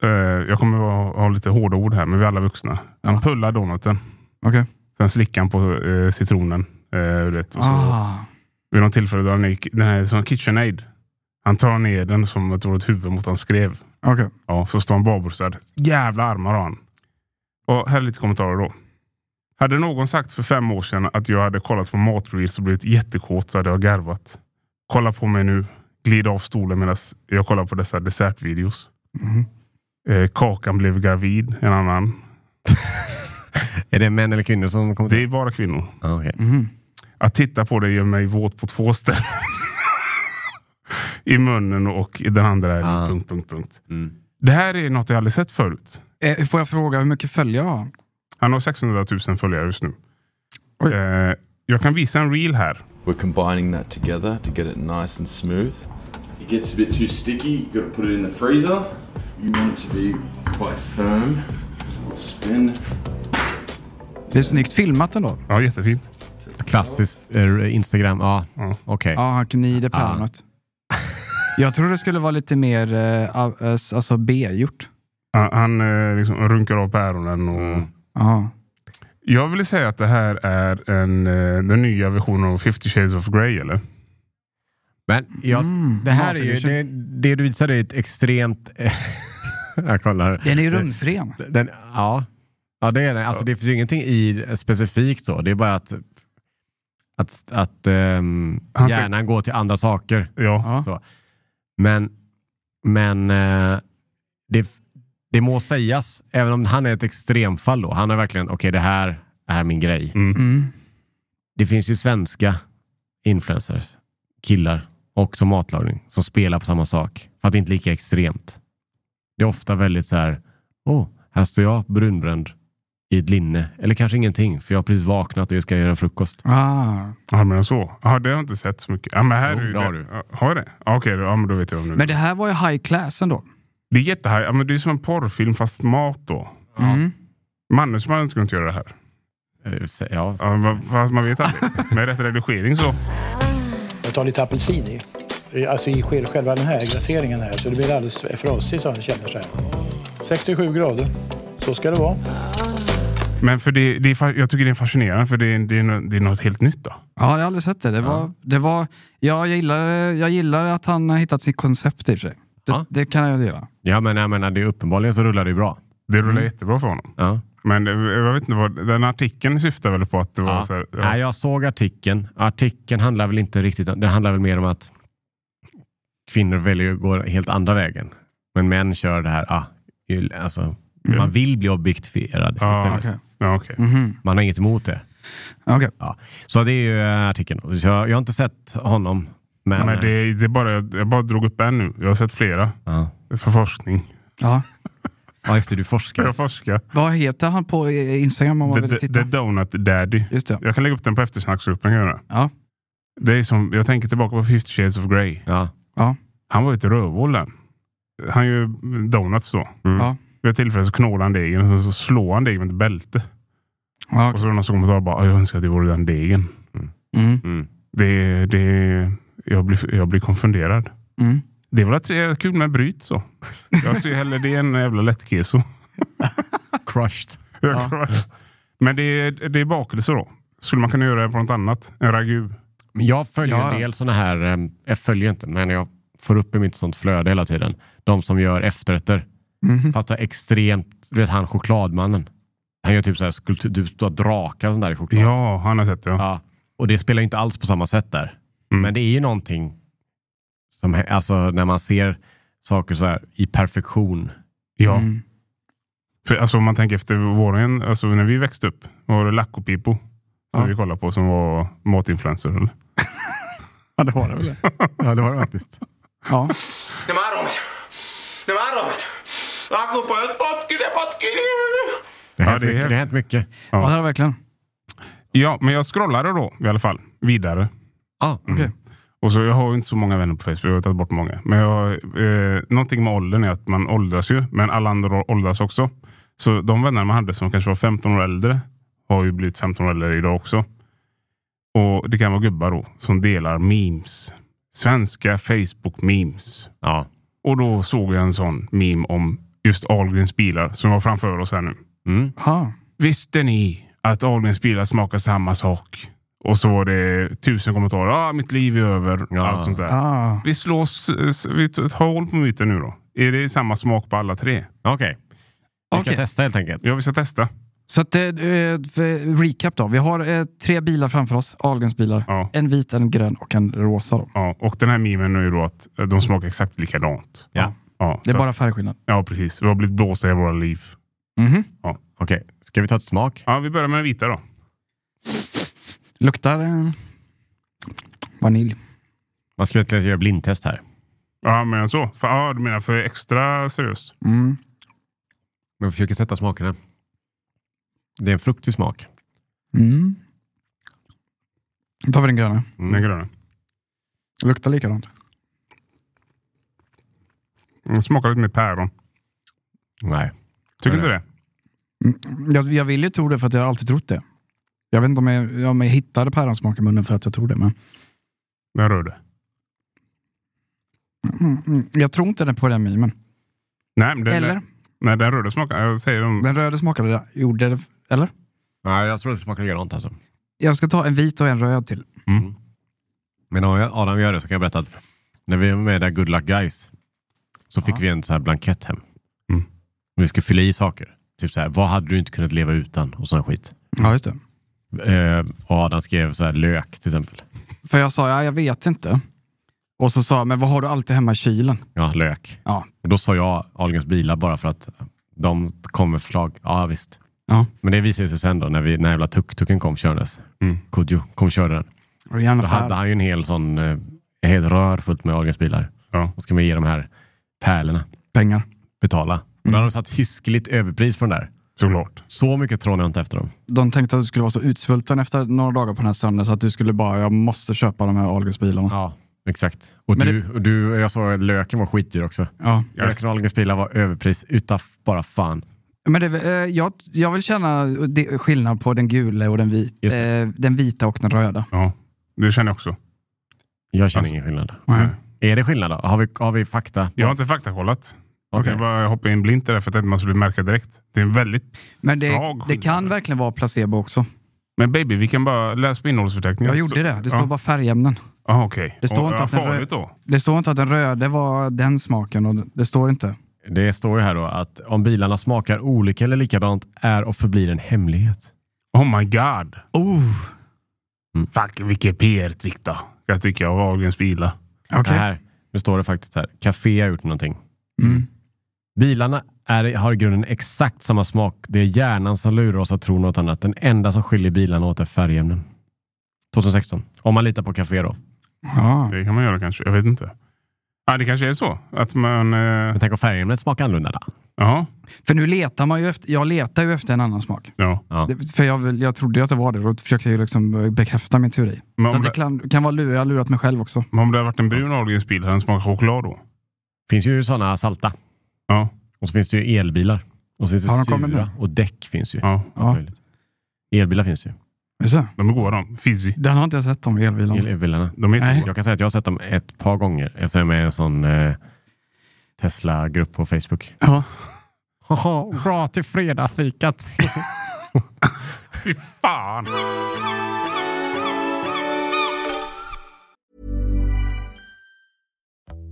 S1: eh, jag kommer att ha lite hårda ord här, men vi är alla vuxna. Han
S2: Ja.
S1: pullar donuten.
S2: Okej.
S1: Sen slickar han på eh, citronen. Eh, du vet, och så,
S2: Ah.
S1: Vid något tillfälle drar han ner den här som KitchenAid. Han tar ner den som ett ett huvud mot hans skrev.
S2: Okej.
S1: Ja, så står han barbröstad. Jävla armar har han. Och här är lite kommentarer då. Hade någon sagt för fem år sedan att jag hade kollat på matreels och blivit jättekåt så hade jag garvat. Kolla på mig nu. Glid av stolen medan jag kollar på dessa dessertvideos.
S2: Mhm.
S1: Eh, kakan blev gravid, en annan.
S3: Är det män eller kvinnor som kommer
S1: Det är bara kvinnor.
S3: Ja, okej.
S2: Mhm.
S1: Att titta på det gör mig våt på två ställen. I munnen och i den andra. är det
S3: Ah.
S1: Punkt, punkt, punkt.
S3: Mm.
S1: Det här är något jag aldrig sett förut.
S2: Eh, får jag fråga hur mycket följare har han?
S1: Han har 600 000 följare just nu.
S2: Oj.
S1: Eh, jag kan visa en reel här.
S4: We're combining that together to get it nice and smooth.
S5: It gets a bit too sticky, you've got to put it in the freezer. You want it to be quite firm. Spin.
S2: Det är snyggt filmat ändå.
S1: Ja, jättefint.
S3: Klassiskt eh, Instagram. Ja,
S1: Ja.
S3: okej.
S2: Ja, han gnider
S3: Ah.
S2: pärmet. Jag tror det skulle vara lite mer eh, av- eh, alltså B-gjort.
S1: Han, han eh, liksom runkar av päronen. Och...
S3: Mm.
S2: Ja.
S1: Jag ville säga att det här är en, eh, den nya versionen av 50 shades of Grey. Eller?
S3: Men jag,
S2: Mm,
S3: det här är ju,
S2: matedition.
S3: det, det du visar är ett extremt... [LAUGHS] jag kollar.
S2: Den är ju rumsren.
S3: Den, ja. ja, det är det. Alltså, det finns ju ingenting i specifikt så. Det är bara att, att, att ehm,
S1: Han ser-
S3: hjärnan går till andra saker.
S1: Ja.
S2: Ja.
S3: Så. Men, men eh, det, det må sägas, även om han är ett extremfall då. Han är verkligen, okej det här är min grej.
S2: Mm.
S3: Det finns ju svenska influencers, killar och som matlagning som spelar på samma sak. För att det inte är lika extremt. Det är ofta väldigt så här, åh, oh, här står jag brunbränd i ett linne. Eller kanske ingenting, för jag har precis vaknat och jag ska göra frukost.
S2: Ah.
S1: Ja, men så. Ja, det har jag inte sett så mycket. Ja, men här
S3: Jo,
S1: är ju
S3: det har du.
S1: Ja, Har jag det? Ja, Okej, då- ja, men då vet jag om det.
S2: Men det här var ju high class ändå.
S1: Det är jättehaj. Ja, men det är som en porrfilm fast mat då.
S2: Mm.
S1: Mannen som hade inte kunnat göra det här.
S3: Eh, så- Ja,
S1: Ja, men fast man vet aldrig. Med rätt redigering så.
S6: Jag tar lite apelsin i. Alltså i själv- själva den här glaseringen här. Så det blir alldeles frasigt så han känner sig. 67 grader. Så ska det vara.
S1: Men för det, det är, fa- jag tycker det är fascinerande för det är, det är, no- det är något helt nytt. Då.
S2: Ja, jag har aldrig sett det. det, var, det var, ja, jag, gillar, jag gillar att han har hittat sitt koncept i och för sig. Det,
S3: Ja.
S2: det kan jag gilla.
S3: ja men jag menar, det är uppenbarligen så rullar det ju bra.
S1: Det
S2: Mm.
S1: rullar jättebra för honom.
S3: Ja.
S1: Men det, jag vet inte vad, den artikeln syftar väl på att det var
S3: Ja.
S1: så här,
S3: Nej, jag såg artikeln. Artikeln handlar väl inte riktigt om, det handlar väl mer om att kvinnor väljer att gå helt andra vägen. Men män kör det här, ah, ju- alltså,
S2: Mm.
S3: man vill bli
S1: Mm.
S3: objektifierad
S1: Ja,
S3: istället.
S2: okej. Mhm.
S1: Ja, okej.
S3: Man har inget emot det.
S2: Okej.
S3: Ja. Så det är ju eh, artikeln. Så jag, jag har inte sett honom. Men,
S2: eh,
S1: Nej, det, det är bara, jag bara drog upp en nu. Jag har sett flera
S3: ja.
S1: för
S2: [LAUGHS]
S1: forskning.
S2: Ja.
S3: ja, just det, du forskar.
S1: Jag forskar.
S2: Vad heter han på eh, Instagram om man
S1: The,
S2: vill
S1: the
S2: titta?
S1: Donut Daddy.
S2: Just det.
S1: Jag kan lägga upp den på eftersnacksgruppen. kan jag göra.
S2: Ja.
S1: Det är som, jag tänker tillbaka på 50 shades of Grey.
S3: Ja.
S2: Ja.
S1: Han var ju ett rövhål där. Han gör donuts då.
S2: Ja.
S1: Vid ett tillfälle så knålar han degen och sen så slår han degen med ett bälte.
S2: Ja,
S1: Och så är det någon som kommer och bara, jag önskar att det vore den degen.
S2: mm,
S1: Det, det, jag, blir, jag blir konfunderad.
S2: mm.
S1: Det är väl att det är kul med bryt
S2: [LAUGHS]
S1: så. Jag ser hellre det än en jävla lättkeso. [LAUGHS]
S3: Crushed.
S1: Men det är, det är bakelse då. Skulle man kunna göra det på något annat? En ragu?
S3: Men jag följer
S2: Ja.
S3: en del sådana här, eh, jag följer inte, men jag får upp i mitt sånt flöde hela tiden. De som gör efterrätter.
S1: Mm.
S2: Mhm.
S3: Fattar extremt, du vet han chokladmannen. Han gör typ så här skulptur, typ stora drakar och sånt där i choklad.
S1: Ja, han har sett det. Ja.
S3: Ja. Och det spelar ju inte alls på samma sätt där.
S1: Mm.
S3: Men det är ju någonting som, hä- alltså när man ser saker så här i perfektion.
S1: ja.
S2: Mm.
S1: För, alltså, om man tänker efter våren, alltså, när vi växte upp, var det Laco Pipo som
S2: Ja.
S1: vi kollade på som var matinfluencer. Eller?
S2: [LAUGHS] ja, det var
S1: [LAUGHS]
S2: det väl.
S3: Ja, det var det faktiskt.
S2: Ja.
S5: Nämä romit! Nämä romit! Lakupojat potki ne potki!
S3: Det har
S1: Ja,
S3: hänt,
S1: det är
S3: mycket,
S1: helt-
S3: det har hänt mycket.
S2: ja, det har det verkligen.
S1: Mm. Ja, men jag scrollade då i alla fall vidare.
S3: Ja,
S2: Okej.
S1: Och så, jag har ju inte så många vänner på Facebook, jag har tagit bort många. Men jag, eh, någonting med åldern är att man åldras ju, men alla andra åldras också. Så de vänner man hade som kanske var 15 år äldre har ju blivit 15 år äldre idag också. Och Det kan vara gubbar då, som delar memes. Svenska Facebook-memes.
S3: ja.
S1: Och då såg jag en sån meme om just Ahlgrens bilar som var framför oss här nu.
S3: Mm.
S2: Ja.
S1: Visste ni att Ahlgrens bilar smakar samma sak? Och så var det tusen kommentarer. Ah, mitt liv är över.
S3: Ja.
S1: Allt sånt där.
S2: Ja.
S1: Vi slås, vi tar hål på myten nu då. Är det samma smak på alla tre?
S3: Okej, vi ska
S2: Okej.
S3: testa helt enkelt.
S1: Ja, vi ska testa.
S2: Så att, eh, eh, för- recap då. Vi har eh, tre bilar framför oss. Ahlgrens bilar.
S1: Ja.
S2: En vit, en grön och en rosa. Då.
S1: Ja, och den här memen är ju då att eh, de smakar exakt likadant.
S3: Ja.
S1: Ja,
S2: Det är
S1: så
S2: bara
S1: att,
S2: färgskillnad.
S1: ja precis. Vi har blivit blåsta i våra liv.
S2: Mhm.
S3: Okej, ska vi ta ett smak?
S1: Ja, vi börjar med den vita då.
S2: Luktar eh, vanilj.
S3: Man ska egentligen göra blindtest här.
S1: Ja, men så. För, ja, du menar för extra seriöst?
S2: Mm.
S3: Men vi försöker sätta smakerna. Det är en fruktig smak.
S2: Mm. Då tar vi den gröna.
S1: Den gröna.
S2: Luktar likadant.
S1: Den smakar lite mer päron.
S3: Nej.
S1: Tycker
S3: Ja,
S1: inte
S3: det-
S1: det?
S2: Jag, jag vill ju tro det för att jag har alltid trott det. Jag vet inte om jag, om jag hittade päronsmak i munnen för att jag tror det. Men
S1: Den röda.
S2: mm, mm, jag tror inte den på den memen.
S1: Nej, men den,
S2: Eller?
S1: Nej, den röda smakar... Jag säger de...
S2: Den röda smakade det. Gjorde det. Eller?
S3: Nej, jag tror det smakar likadant alltså.
S2: Jag ska ta en vit och en röd till.
S1: Mm.
S3: Mm. Men om jag- Adam gör det så kan jag berätta att när vi var med där Good Luck Guys så fick vi en så här blankett hem.
S1: Mm.
S3: Vi skulle fylla i saker. Typ så här, vad hade du inte kunnat leva utan? Och sån här skit.
S2: Ja, just det.
S3: Eh, och Adam skrev så här, lök till exempel.
S2: För jag sa, ja, jag vet inte. Och så sa jag, men vad har du alltid hemma i kylen?
S3: Ja, lök.
S2: Ja.
S3: Och då sa jag Ahlgrens bilar bara för att de kom med förslag. Ja, visst.
S2: Ja.
S3: Men det visade sig sen då när, vi, när jävla tuk-tuken kom körandes.
S1: Mm.
S3: Kodjo kom körde den.
S2: Och gärna
S3: Då hade
S2: färg.
S3: han ju en hel sån, eh, en hel rör fullt med Ahlgrens bilar.
S1: Ja.
S3: Och ska man ge de här pärlorna
S2: Pengar.
S3: betala. Och
S2: Mm.
S3: då hade de satt hiskeligt överpris på den där.
S1: Såklart.
S3: Så mycket trånar jag inte efter dem.
S2: De tänkte att du skulle vara så utsvulten efter några dagar på den här stranden så att du skulle bara, jag måste köpa de här Ahlgrens bilarna.
S3: Ja, exakt. Och
S2: Men
S3: du, och du, jag såg att löken var skitdyr också.
S2: Ja.
S3: Löken och Ahlgrens bilar var överpris utan f- bara fan.
S2: Men det, eh, jag, jag vill känna det, skillnad på den gula och den, vit,
S3: Just
S2: eh, den vita och den röda.
S1: Ja, det känner jag också.
S3: Jag känner
S1: Alltså-
S3: ingen skillnad.
S2: Nej.
S3: Är det skillnad då? Har vi, har vi fakta?
S1: Jag har inte faktakollat.
S3: Okej.
S1: Jag bara hoppade in blint där för jag tänkte man skulle märka direkt. Det är en väldigt
S2: Men det,
S1: svag
S2: det
S1: skillnad.
S2: kan verkligen vara placebo också.
S1: Men baby, vi kan bara läsa på innehållsförteckningen.
S2: Jag gjorde det. Det står
S1: ja.
S2: bara färgämnen.
S1: Ah, okej.
S2: Det står
S1: Och,
S2: inte
S1: ja,
S2: att den rö-
S1: farligt då?
S2: Det står inte att den röda var den smaken. Och det står inte.
S3: Det står ju här då att om bilarna smakar olika eller likadant är och förblir en hemlighet.
S1: Oh my god.
S2: Oh,
S1: Fuck, vilket PR-trick då. Jag tycker jag av Ahlgrens bilar.
S2: okej.
S3: Det Här, nu står det faktiskt här. Café har gjort någonting.
S2: Mm.
S3: Bilarna är, har i grunden exakt samma smak. Det är hjärnan som lurar oss att tro något annat. Den enda som skiljer bilarna åt är färgämnen. 2016. Om man litar på Café då.
S2: Ja.
S1: Det kan man göra kanske. Jag vet inte. Ja, det kanske är så. Att man... Eh,
S3: Men tänk om färgämnet smakar annorlunda då?
S1: ja.
S2: För nu letar man ju efter, jag letar ju efter en annan smak.
S1: ja.
S3: Ja.
S2: Det- För jag, vill- jag trodde ju att det var det och då försökte jag ju liksom bekräfta min teori.
S1: Men
S2: Så
S1: om
S2: att det
S1: det,
S2: kan, kan vara lur, jag har lurat mig själv också.
S1: men om det hade varit en brun Ahlgrens bil, hade den smakat choklad då?
S3: finns ju sådana salta.
S1: Ja.
S3: Och så finns det ju elbilar. Och så finns det
S2: Har de kommit
S3: sura.
S2: med?
S3: Och däck finns ju.
S1: Ja,
S2: Ja.
S3: Möjligt. Elbilar finns ju.
S2: Just det.
S1: de är goda de. Fizzy.
S2: Den har inte jag sett om elbilarna.
S3: Elbilarna.
S1: De är
S2: Nej.
S1: jättegoda.
S3: Jag kan säga att jag har sett dem ett par gånger eftersom jag är med i en sån eh, Tesla-grupp på Facebook.
S2: Ja.
S3: Haha, bra till fredagsfikat.
S1: Fy fan!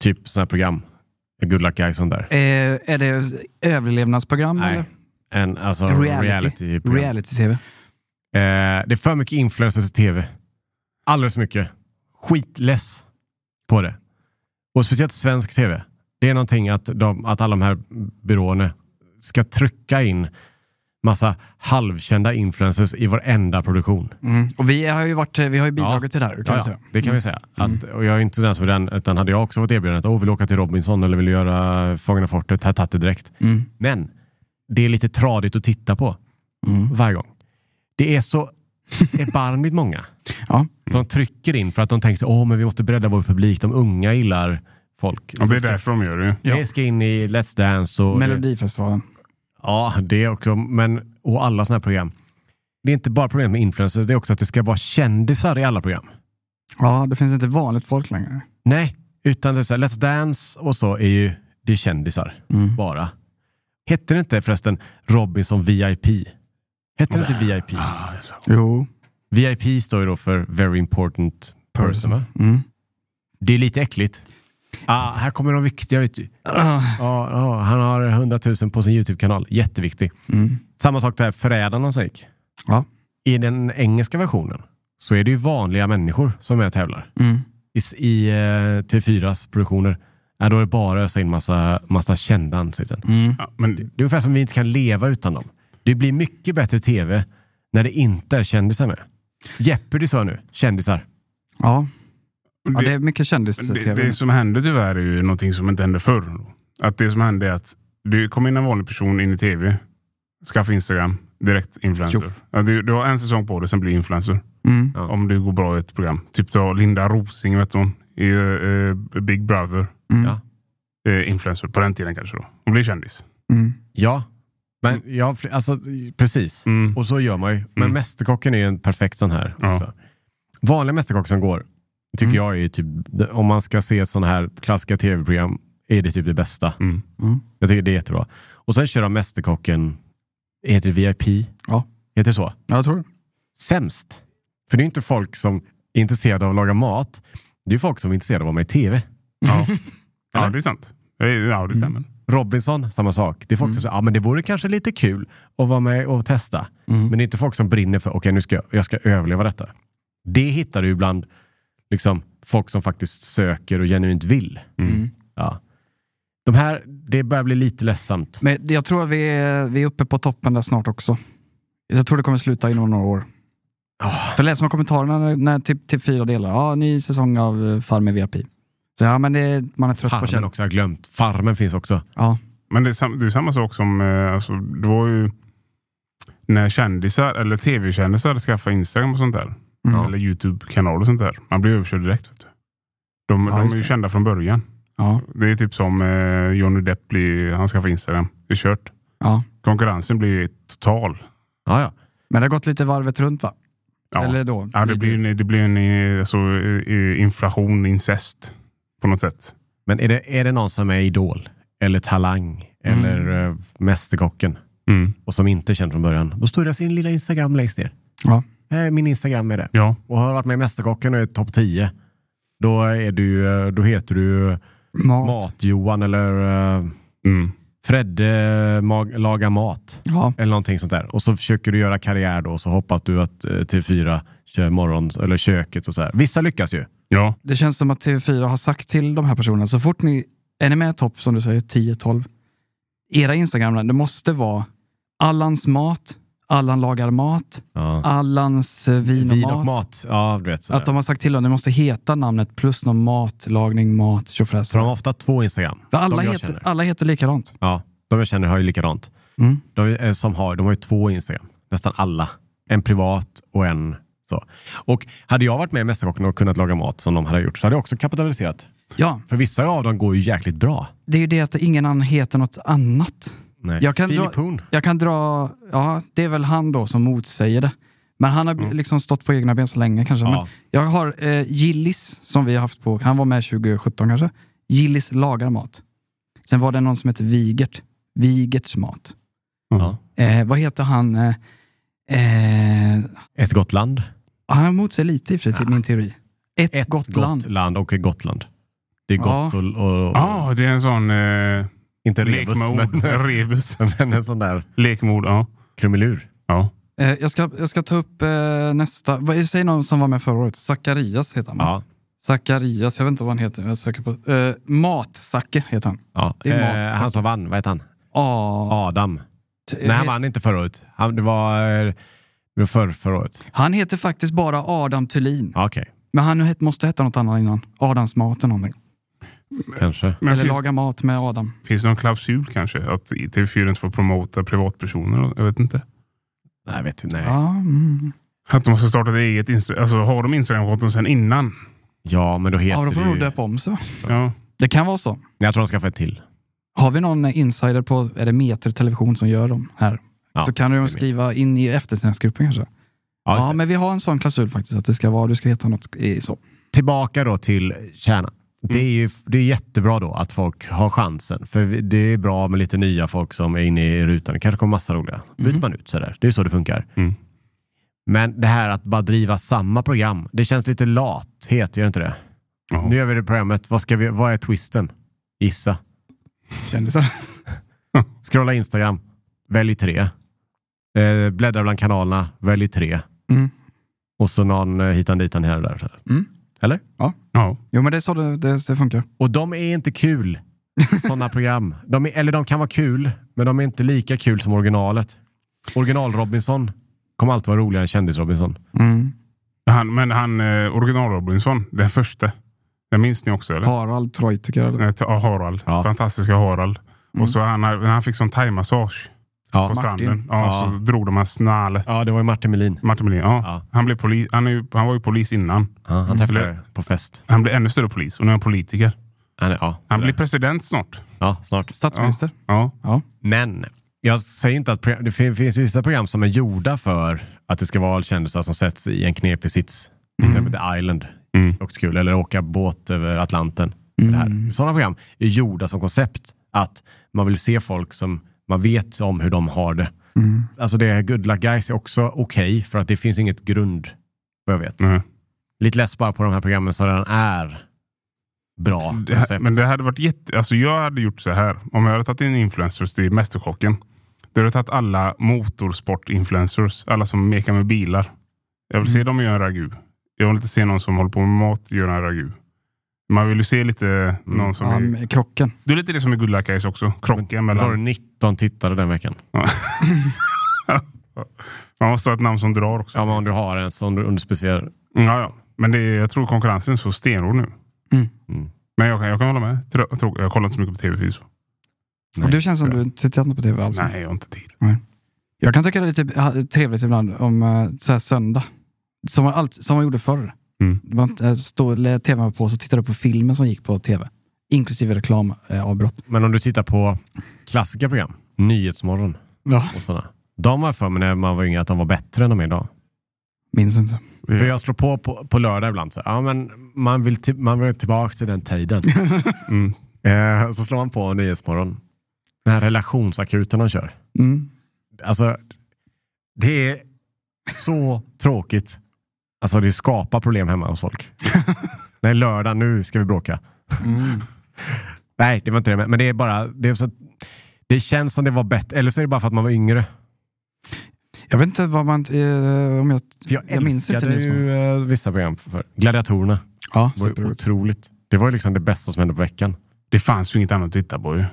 S3: typ sådana här program. Good luck guys sånt där.
S2: [LAUGHS] Eh, är det överlevnadsprogram
S3: Nej.
S2: eller?
S3: En, alltså,
S2: Reality.
S3: reality, program.
S2: Reality-tv.
S3: Eh, det är för mycket influencers i tv. Alldeles för mycket. Skitless på det. Och speciellt svensk tv. Det är någonting att, de, att alla de här byråerna ska trycka in massa halvkända influencers i varenda produktion.
S2: Mm. Och vi har ju, varit, vi har ju bidragit till det här. Kan
S3: Ja,
S2: jag
S3: ja,
S2: säga. Mm.
S3: det kan vi säga. Att, och jag är inte den som är den, utan hade jag också fått erbjudandet att oh, vill du åka till Robinson eller vill du göra Fångarna fortet, här tagit det direkt.
S2: Mm.
S3: Men det är lite tradigt att titta på
S2: Mm.
S3: varje gång. Det är så [LAUGHS] erbarmligt många.
S2: Ja.
S3: Så de trycker in för att de tänker åh men vi måste bredda vår publik, de unga gillar folk.
S1: Ja, det är därför de gör det ju.
S3: Det ska in i Let's Dance och...
S2: Melodifestivalen.
S3: Ja, det också. Men, och alla sådana här program. Det är inte bara problem med influencers, det är också att det ska vara kändisar i alla program.
S2: Ja, det finns inte vanligt folk längre.
S3: Nej, utan det är så här, Let's Dance och så är ju det är kändisar bara. Hette det inte förresten Robinson VIP? Hette det inte VIP?
S2: Jo.
S3: VIP står ju då för Very Important Person. va?
S2: Mm.
S3: Det är lite äckligt. Ah, här kommer de viktiga ut.
S2: Ah.
S3: Ja, ja, han har 100 000 på sin YouTube-kanal. Jätteviktig.
S2: Mm.
S3: Samma sak där, förrädarna som gick.
S2: Ja.
S3: I den engelska versionen så är det ju vanliga människor som är och tävlar.
S2: Mm.
S3: I, s- i eh, T4s produktioner, ja, då är det bara att ösa in massa, massa kända ansikten.
S1: Ja, men
S3: Det är ungefär som vi inte kan leva utan dem. Det blir mycket bättre tv när det inte är kändisar med. Jeopardy sa jag nu, kändisar.
S2: Ja. ja, det
S1: det,
S2: är mycket
S1: det,
S2: kändis-tv.
S1: det som händer tyvärr är ju någonting som inte hände förr. då. Att det som hände är att du kom in en vanlig person in i tv, skaffa Instagram, direkt influencer. Ja, du, du har en säsong på dig, sen blir du influencer.
S2: Mm.
S3: Ja.
S1: Om det går bra i ett program. Typ ta Linda Rosing, vet hon, i eh, Big Brother.
S2: Mm.
S3: Ja.
S1: Eh, influencer, på den tiden kanske då. Hon blir kändis.
S2: Mm.
S3: Ja, men ja, fl- alltså precis.
S1: Mm.
S3: Och så gör man ju. Men
S1: Mm.
S3: Mästerkocken är ju en perfekt sån här.
S1: Ja.
S3: Också. Vanliga Mästerkock som går, tycker
S2: Mm.
S3: jag är typ, om man ska se sådana här klassiska tv-program, är det typ det bästa.
S1: Mm.
S3: Jag tycker det är jättebra. Och sen kör de Mästerkocken, heter det VIP?
S2: Ja.
S3: Heter det så?
S2: Ja, jag tror det.
S3: Sämst. För det är inte folk som är intresserade av att laga mat. Det är folk som är intresserade av att vara med i tv.
S1: Ja.
S3: [LAUGHS]
S1: ja,
S3: Eller?
S1: det är sant. Eh, Ja, det stämmer.
S3: Robinson, samma sak. Det är folk som säger, ja men det vore kanske lite kul att vara med och testa. Men det är inte folk som brinner för, okej nu ska jag, jag ska överleva detta. Det hittar du ibland liksom, folk som faktiskt söker och genuint vill.
S1: Mm.
S3: Ja. De här, det börjar bli lite ledsamt.
S2: Men jag tror att vi är, vi är uppe på toppen där snart också. Jag tror det kommer sluta inom några år. För läser man kommentarerna när, när, till, till fyra delar. Ja, ny säsong av eh, Farmen VIP. Så ja, men det, man är trött på
S3: Farmen
S2: kändis.
S3: också, jag har glömt. Farmen finns också.
S2: Ja.
S1: Men det är, sam- det är samma sak som, eh, alltså, det var ju när kändisar eller tv-kändisar skaffade Instagram och sånt där.
S2: Mm.
S1: Eller YouTube-kanal och sånt där. Man blir överkörd direkt. Vet du. De,
S2: Ja,
S1: de
S2: just
S1: är ju
S2: det.
S1: kända från början.
S2: Ja.
S1: Det är typ som eh, Johnny Depp, blir, han skaffade Instagram. Det är kört.
S2: ja.
S1: Konkurrensen blir total.
S3: Ja, ja.
S2: Men det har gått lite varvet runt va?
S1: Ja.
S2: Eller då?
S1: Ja, det blir ju en, det blir en eh, alltså, eh, inflation, incest på något sätt.
S3: Men är det, är det någon som är idol eller talang
S1: Mm.
S3: eller eh, mästerkocken
S1: Mm.
S3: och som inte är känd från början, då står det sin lilla Instagram längst ner.
S2: Ja.
S3: Eh, Min Instagram är det.
S1: Ja.
S3: Och har du varit med i Mästerkocken och är topp 10, då, är du, eh, då heter du eh,
S2: Mat.
S3: Mat-Johan eller eh,
S1: Mm.
S3: Fredde mag- lagar mat.
S2: Ja.
S3: Eller någonting sånt där. Och så försöker du göra karriär då och så hoppas du att eh, TV4 kör morgon eller köket och så här. Vissa lyckas ju.
S1: Ja.
S2: Det känns som att TV4 har sagt till de här personerna, så fort ni är ni med i topp, som du säger, 10-12, era Instagram, det måste vara Allans mat, Allan lagar mat,
S3: Ja.
S2: Allans eh, vin och,
S3: Vin
S2: mat.
S3: och mat. Ja, du vet. sådär.
S2: Att de har sagt till dem, det måste heta namnet plus någon matlagning, mat, tjofräs.
S3: För de har ofta två Instagram.
S2: För Alla,
S3: de jag
S2: heter,
S3: känner.
S2: alla heter likadant.
S3: Ja, de jag känner har ju likadant.
S2: Mm.
S3: De eh, som har, de har ju två Instagram. Nästan alla. En privat och en så. Och hade jag varit med i Mästerkocken och kunnat laga mat som de hade gjort så hade jag också kapitaliserat.
S2: Ja,
S3: För vissa av dem går ju jäkligt bra.
S2: det är ju det att ingen annan heter något annat.
S3: Nej.
S2: Jag kan
S3: Filip
S2: dra-
S3: Horn.
S2: Jag kan dra, ja, det är väl han då som motsäger det. Men han har bl- liksom stått på egna ben så länge kanske. Men
S3: Mm. Ja.
S2: jag har eh, Gillis som vi har haft på, han var med 2017 kanske. Gillis lagar mat. Sen var det någon som hette Vigert. Vigerts mat.
S3: Ja.
S2: Eh, vad heter han? Eh, eh,
S3: Ett gott land.
S2: han motsäger lite i och för sig till min teori. Ett,
S3: Ett
S2: gott, land.
S3: och Gotland. Det är
S2: Ja. Ah,
S3: gott och, och, och
S1: Ja, det är en sån eh,
S3: inte
S1: lek
S3: rebus,
S1: med ord.
S3: men, [LAUGHS]
S1: Rebus.
S3: men en sån där
S1: Lek med ord, ja.
S3: krumelur.
S1: ja.
S2: Eh, jag, ska, jag ska ta upp eh, nästa. Vad- Säg någon som var med förra året. Zacharias heter han. va?
S3: Ja.
S2: Zacharias, jag vet inte vad han heter. Jag söker på. Eh, Mat-Zacke heter han.
S3: Ja.
S2: Det är mat,
S3: eh, han som vann, vad heter han?
S2: Ah,
S3: Adam.
S2: t-
S3: Nej, han
S2: he-
S3: vann inte förra året. Han, det var, eh, det var förr, förra året.
S2: han heter faktiskt bara Adam Thulin.
S3: Ja, Okej,
S2: Men han het, måste heta något annat innan. Adams mat eller någonting.
S3: kanske.
S1: Men
S2: eller
S1: finns,
S2: laga mat med Adam.
S1: finns det någon klausul kanske? Att TV4 inte får promota privatpersoner? Jag vet inte.
S3: Nej, vet du, nej. Ja.
S2: Ja, mm.
S1: Att de måste starta ett eget Insta- alltså har de Instagramkonton sen innan?
S3: men då heter
S2: ja, då får de
S3: det
S2: nog
S3: ju...
S2: döpa om sig. va?
S1: Ja.
S2: Det kan vara så.
S3: Jag tror de skaffar ett till.
S2: Har vi någon eh, insider på, är det Meter Television som gör dem här?
S3: Ja,
S2: så kan du
S3: det
S2: ju
S3: är
S2: skriva in i eftersändingsgruppen kanske.
S3: Ja, just
S2: Ja,
S3: det.
S2: men vi har en sån klausul faktiskt, att det ska vara, du ska heta något i, så.
S3: Tillbaka då till kärnan. Det
S2: Mm.
S3: är ju det är jättebra då att folk har chansen. För vi- det är bra med lite nya folk som är inne i rutan. Det kanske kommer massa roliga.
S2: Mm.
S3: Byter man ut sådär. Det är så det funkar.
S1: Mm.
S3: Men det här att bara driva samma program. Det känns lite lathet, gör det inte det?
S1: Ja.
S3: Nu gör vi det programmet. Vad, ska vi, vad är twisten? Gissa.
S2: Kändisar.
S3: Scrolla Instagram. Välj tre. Eh, bläddra bland kanalerna. Välj tre.
S2: Mm.
S3: Och så någon eh, hitan ditan här och där.
S2: Mm.
S3: Eller?
S1: Ja.
S2: Jo, men det är så det, det, det funkar. [LAUGHS]
S3: Och de är inte kul, sådana program. De är, eller de kan vara kul, men de är inte lika kul som originalet. Original-Robinson kommer alltid vara roligare än kändis-Robinson.
S2: Mm.
S1: Han, men han, eh, original-Robinson, den första. Den minns ni också eller?
S2: Harald Treutiger. eller?
S1: Eh, ta- Ja. Harald.
S3: Ja.
S1: Fantastiska Harald.
S2: Mm.
S1: Och så han, när han fick sån thaimassage på
S3: Ja.
S1: stranden. Ja,
S3: Ja.
S1: Så drog de hans snall.
S3: ja, det var ju Martin Melin.
S1: Martin Melin, ja.
S3: Ja.
S1: Han, blev poli- han, är, ju- han var ju polis innan.
S3: Ja, han träffade
S1: Eller-
S3: jag på fest.
S1: Han blev ännu större polis och nu är han politiker.
S3: Han, är- ja,
S1: Han
S3: sådär.
S1: blir president snart.
S3: ja, snart.
S2: Statsminister.
S1: Ja.
S2: Ja.
S3: Men jag säger inte att program, det fin- finns vissa program som är gjorda för att det ska vara kändisar som sätts i en knepig sits. Till exempel The Island.
S1: Mm.
S3: Det är Också kul. Eller åka båt över Atlanten. Det här. Sådana program är gjorda som koncept. Att man vill se folk som man vet om hur de har det.
S2: Mm.
S3: Alltså det är Good Luck Guys är också okej för att det finns inget grund. Vad jag vet.
S1: Nej.
S3: Lite less bara på de här programmen som redan är bra.
S1: Det här,
S3: koncept.
S1: men det hade varit jätte... Alltså jag hade gjort så här. Om jag hade tagit in influencers till Mästerkocken. Då hade jag tagit alla motorsport-influencers. Alla som mekar med bilar. Jag vill se
S2: Mm.
S1: dem göra en ragu. Jag vill inte se någon som håller på med mat göra en ragu. Man vill ju se lite någon som...
S2: Mm. Ja,
S1: är,
S2: med krocken.
S1: det är lite det som är Good Luck Guys också. Krocken
S3: Då har du
S1: mellan...
S3: 19 tittare den veckan.
S1: [LAUGHS] Man måste ha ett namn som drar också.
S3: Ja, men om du har en som du, om du specificerar
S1: Mm, Ja, ja. Men det, är- jag tror konkurrensen är så stenhård nu.
S2: Mm.
S3: Mm.
S1: Men jag kan, jag kan hålla med. Tror- Jag, tror, jag kollar inte så mycket på tv förvisso.
S2: Och du känns som du inte tittar på tv alls.
S1: Nej, jag har inte tid.
S2: Jag kan tycka det är lite ha- trevligt ibland om eh, så här söndag. Som man, allt, som man gjorde förr.
S1: Mm.
S2: Man eh, stod, lät tvn på och så tittade på filmen som gick på tv. Inklusive reklamavbrott.
S3: Men om du tittar på klassiska program, Nyhetsmorgon
S2: Ja.
S3: och sådana. De var för mig när man var yngre att de var bättre än de är idag.
S2: Minns inte.
S3: För jag slår på på, på lördag ibland. Så, ja, men man, vill till, man vill tillbaka till den tiden. Eh, så slår man på Nyhetsmorgon. Den här relationsakuten de kör.
S2: Mm.
S3: Alltså, det är så [LAUGHS] tråkigt. Alltså det skapar problem hemma hos folk. Nej, lördag, nu ska vi bråka. Mm. Nej, det var inte det. Men men det är bara... Det, är så, det känns som det var bättre. Eller så är det bara för att man var yngre.
S2: Jag vet inte vad man... Eh, om jag,
S3: För jag,
S2: jag minns inte
S3: älskade
S2: Nils Holm.
S3: ju eh, vissa program för, för Gladiatorerna.
S2: Ja,
S3: Det var ju
S2: superroligt.
S3: otroligt. Det var ju liksom det bästa som hände på veckan.
S1: Det fanns ju inget annat att titta på ju.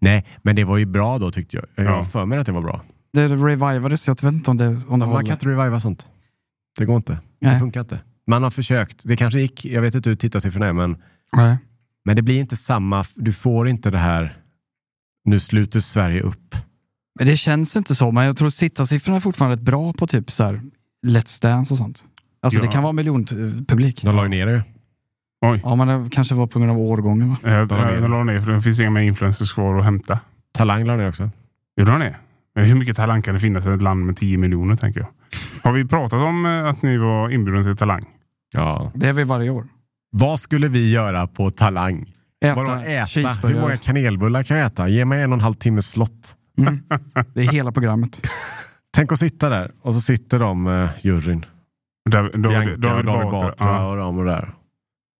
S3: Nej, men det var ju bra då tyckte jag. Jag har
S1: Ja.
S3: för mig att det var bra.
S2: Det revivades, jag vet inte om det, om det
S3: Man
S2: håller.
S3: kan inte reviva sånt. Det går inte. Det
S2: Nej.
S3: funkar inte. Man har försökt. Det kanske gick. Jag vet inte hur tittarsiffrorna är, men,
S2: Nej.
S3: men det blir inte samma. Du får inte det här. Nu sluter Sverige upp.
S2: Men det känns inte så, men jag tror tittarsiffrorna är fortfarande rätt bra på typ så här Let's Dance och sånt. Alltså
S1: Ja.
S2: det kan vara miljonpublik.
S3: De la ju ner det ju.
S1: Oj.
S2: Ja, men det kanske var på grund av årgången va?
S1: Eh, Jag
S3: la ner.
S1: jag la ner för det finns inga mer influencers kvar att hämta.
S3: Talang la ner också.
S1: Gjorde han det? Men hur mycket talang kan det finnas i ett land med 10 miljoner tänker jag? Har vi pratat om eh, att ni var inbjudna till Talang?
S3: Ja.
S2: Det är vi varje år.
S3: Vad skulle vi göra på Talang? Vadå äta? Hur
S2: cheeseburgare.
S3: många kanelbullar kan jag äta? Ge mig en och en halv timmes slott.
S2: Mm. Det är hela programmet.
S3: Tänk att sitta där och så sitter de, eh, juryn.
S1: Där, då, då,
S3: Bianca
S1: då,
S3: och David Batra
S1: Ja.
S3: och de och där.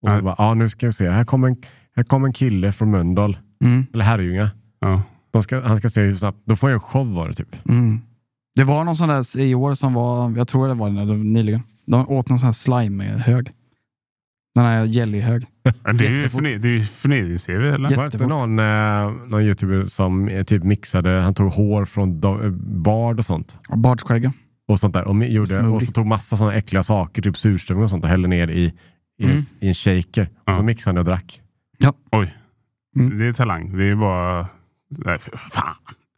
S3: Och så
S1: Ja.
S3: bara, ja nu ska vi se. Här kommer en, här kom en kille från Mölndal,
S2: Mm.
S3: eller Herrljunga.
S1: Ja.
S3: De ska, han ska se hur snabbt, då får jag en show var det typ.
S2: Mm. Det var någon sån där i år som var, jag tror det var den där nyligen. De åt någon sån här slime-hög. Den här jelly-hög.
S1: Men Det är ju
S2: Jättefort.
S1: förne- det är ju förnedrings-tv eller?
S2: Jätte-
S3: Var det inte någon, eh, någon youtuber som eh, typ mixade, han tog hår från do, eh, Bard och sånt.
S2: Och Bardskägga.
S3: Och sånt där. Och, mi- gjorde,
S2: Smoothie.
S3: och så tog massa sådana äckliga saker, typ surströmming och sånt och hällde ner i, i,
S2: Mm.
S3: i en shaker. Och
S1: Ja.
S3: så mixade han och drack.
S1: Oj.
S2: Mm.
S1: Det är Talang. Det är bara... Nej, för fan.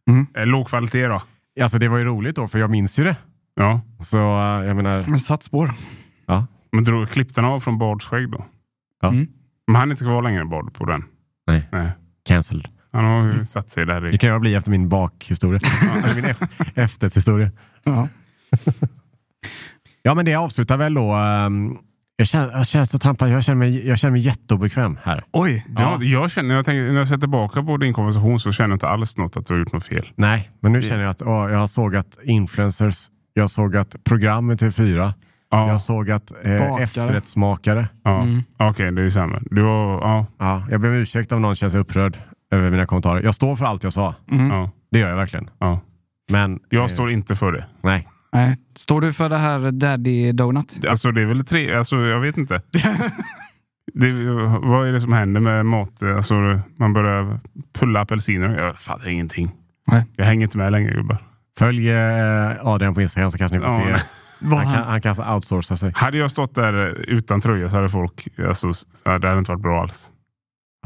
S2: Mm.
S1: Eh, Låg kvalitet då.
S3: Alltså det var ju roligt då, för jag minns ju det.
S1: Ja.
S3: Så eh, jag menar,
S2: Men satt spår.
S1: Men drog, klippte han av från Bards skägg då?
S3: Ja.
S2: Mm.
S1: Men han är inte kvar längre Bard på den?
S3: Nej. cancelled.
S1: Han har ju satt sig där
S3: Det
S1: i...
S3: kan jag bli efter min bakhistoria. Eller min ef- efterhistoria.
S2: Ja.
S3: [LAUGHS] Ja, men det avslutar väl då. ehm, jag känner, jag känner, att trampa, jag känner, mig, jag känner mig jätteobekväm här.
S2: Oj.
S1: Ja, jag känner, jag tänker, när jag ser tillbaka på din konversation så känner jag inte alls något att du har gjort något fel.
S3: Nej, men nu känner jag att åh, jag har sågat influencers. Jag såg att program i TV4.
S1: Ja,
S3: Jag såg att eh,
S2: Bakare.
S3: efterrättsmakare.
S1: ja.
S2: Mm.
S1: okej, det är samma. Du har, ja,
S3: Ja, jag ber om ursäkt om någon känns upprörd över mina kommentarer. Jag står för allt jag sa.
S2: Mm.
S1: ja,
S3: Det gör jag verkligen.
S1: ja.
S3: Men
S1: Jag
S3: eh,
S1: står inte för det.
S3: Nej.
S2: Nej. Står du för det här Daddy Donut?
S1: Alltså det är väl tre, alltså jag vet inte. [LAUGHS] Det, vad är det som händer med mat? Alltså, man börjar pulla apelsiner. Jag fattar ingenting.
S2: Nej.
S1: Jag hänger inte med längre gubbar.
S3: Följ eh, Adrian på Instagram så kanske ni får
S1: Ja,
S3: se.
S1: nej.
S2: Vad
S3: Han kan,
S2: han-
S3: han kan alltså outsourca sig.
S1: Hade jag stått där utan tröja så hade folk... Alltså, det hade inte varit bra alls.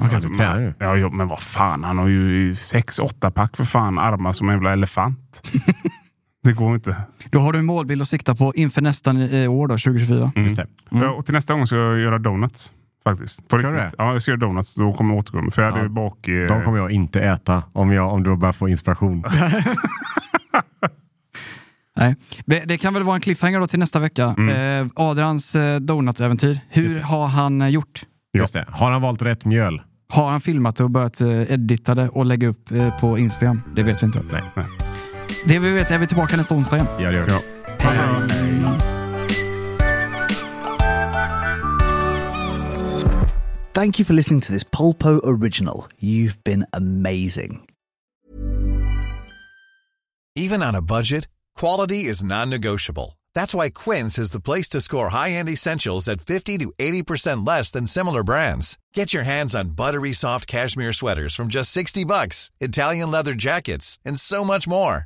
S3: Han
S1: Alltså,
S3: kanske tränar ju.
S1: Ja, jo, men vad fan, han har ju sex, åtta pack för fan. Armar som en jävla
S3: [LAUGHS]
S1: elefant. det går inte.
S3: Mm.
S2: Då har du en målbild att sikta på inför nästa eh, år då, 2024.
S1: Mm.
S3: Just det.
S2: Mm.
S1: Ja, och till nästa gång ska jag göra donuts. Faktiskt. På
S3: Ska du
S1: riktigt. Ja, jag ska göra donuts. Då kommer jag återkomma. För jag hade
S3: Ja.
S1: ju bak... eh,
S3: De kommer jag inte äta om, jag, om du bara
S1: [LAUGHS]
S3: får inspiration.
S2: Nej. Det, det kan väl vara en cliffhanger då till nästa vecka. Eh, Adrians eh, donut-äventyr. Hur har han eh, gjort?
S3: Just det. Har han valt rätt mjöl?
S2: Har han filmat och börjat eh, edita det och lägga upp eh, på Instagram? Det vet vi inte.
S3: Nej.
S1: Nej.
S2: Det vi vet är vi tillbaka nästa onsdag igen.
S3: Ja, det gör vi.
S1: Ja.
S7: Thank you for listening to this Polpo original. You've been amazing.
S8: Even on a budget, quality is non-negotiable. That's why Quince is the place to score high-end essentials at 50 to 80% less than similar brands. Get your hands on buttery soft cashmere sweaters from just 60 bucks, Italian leather jackets, and so much more.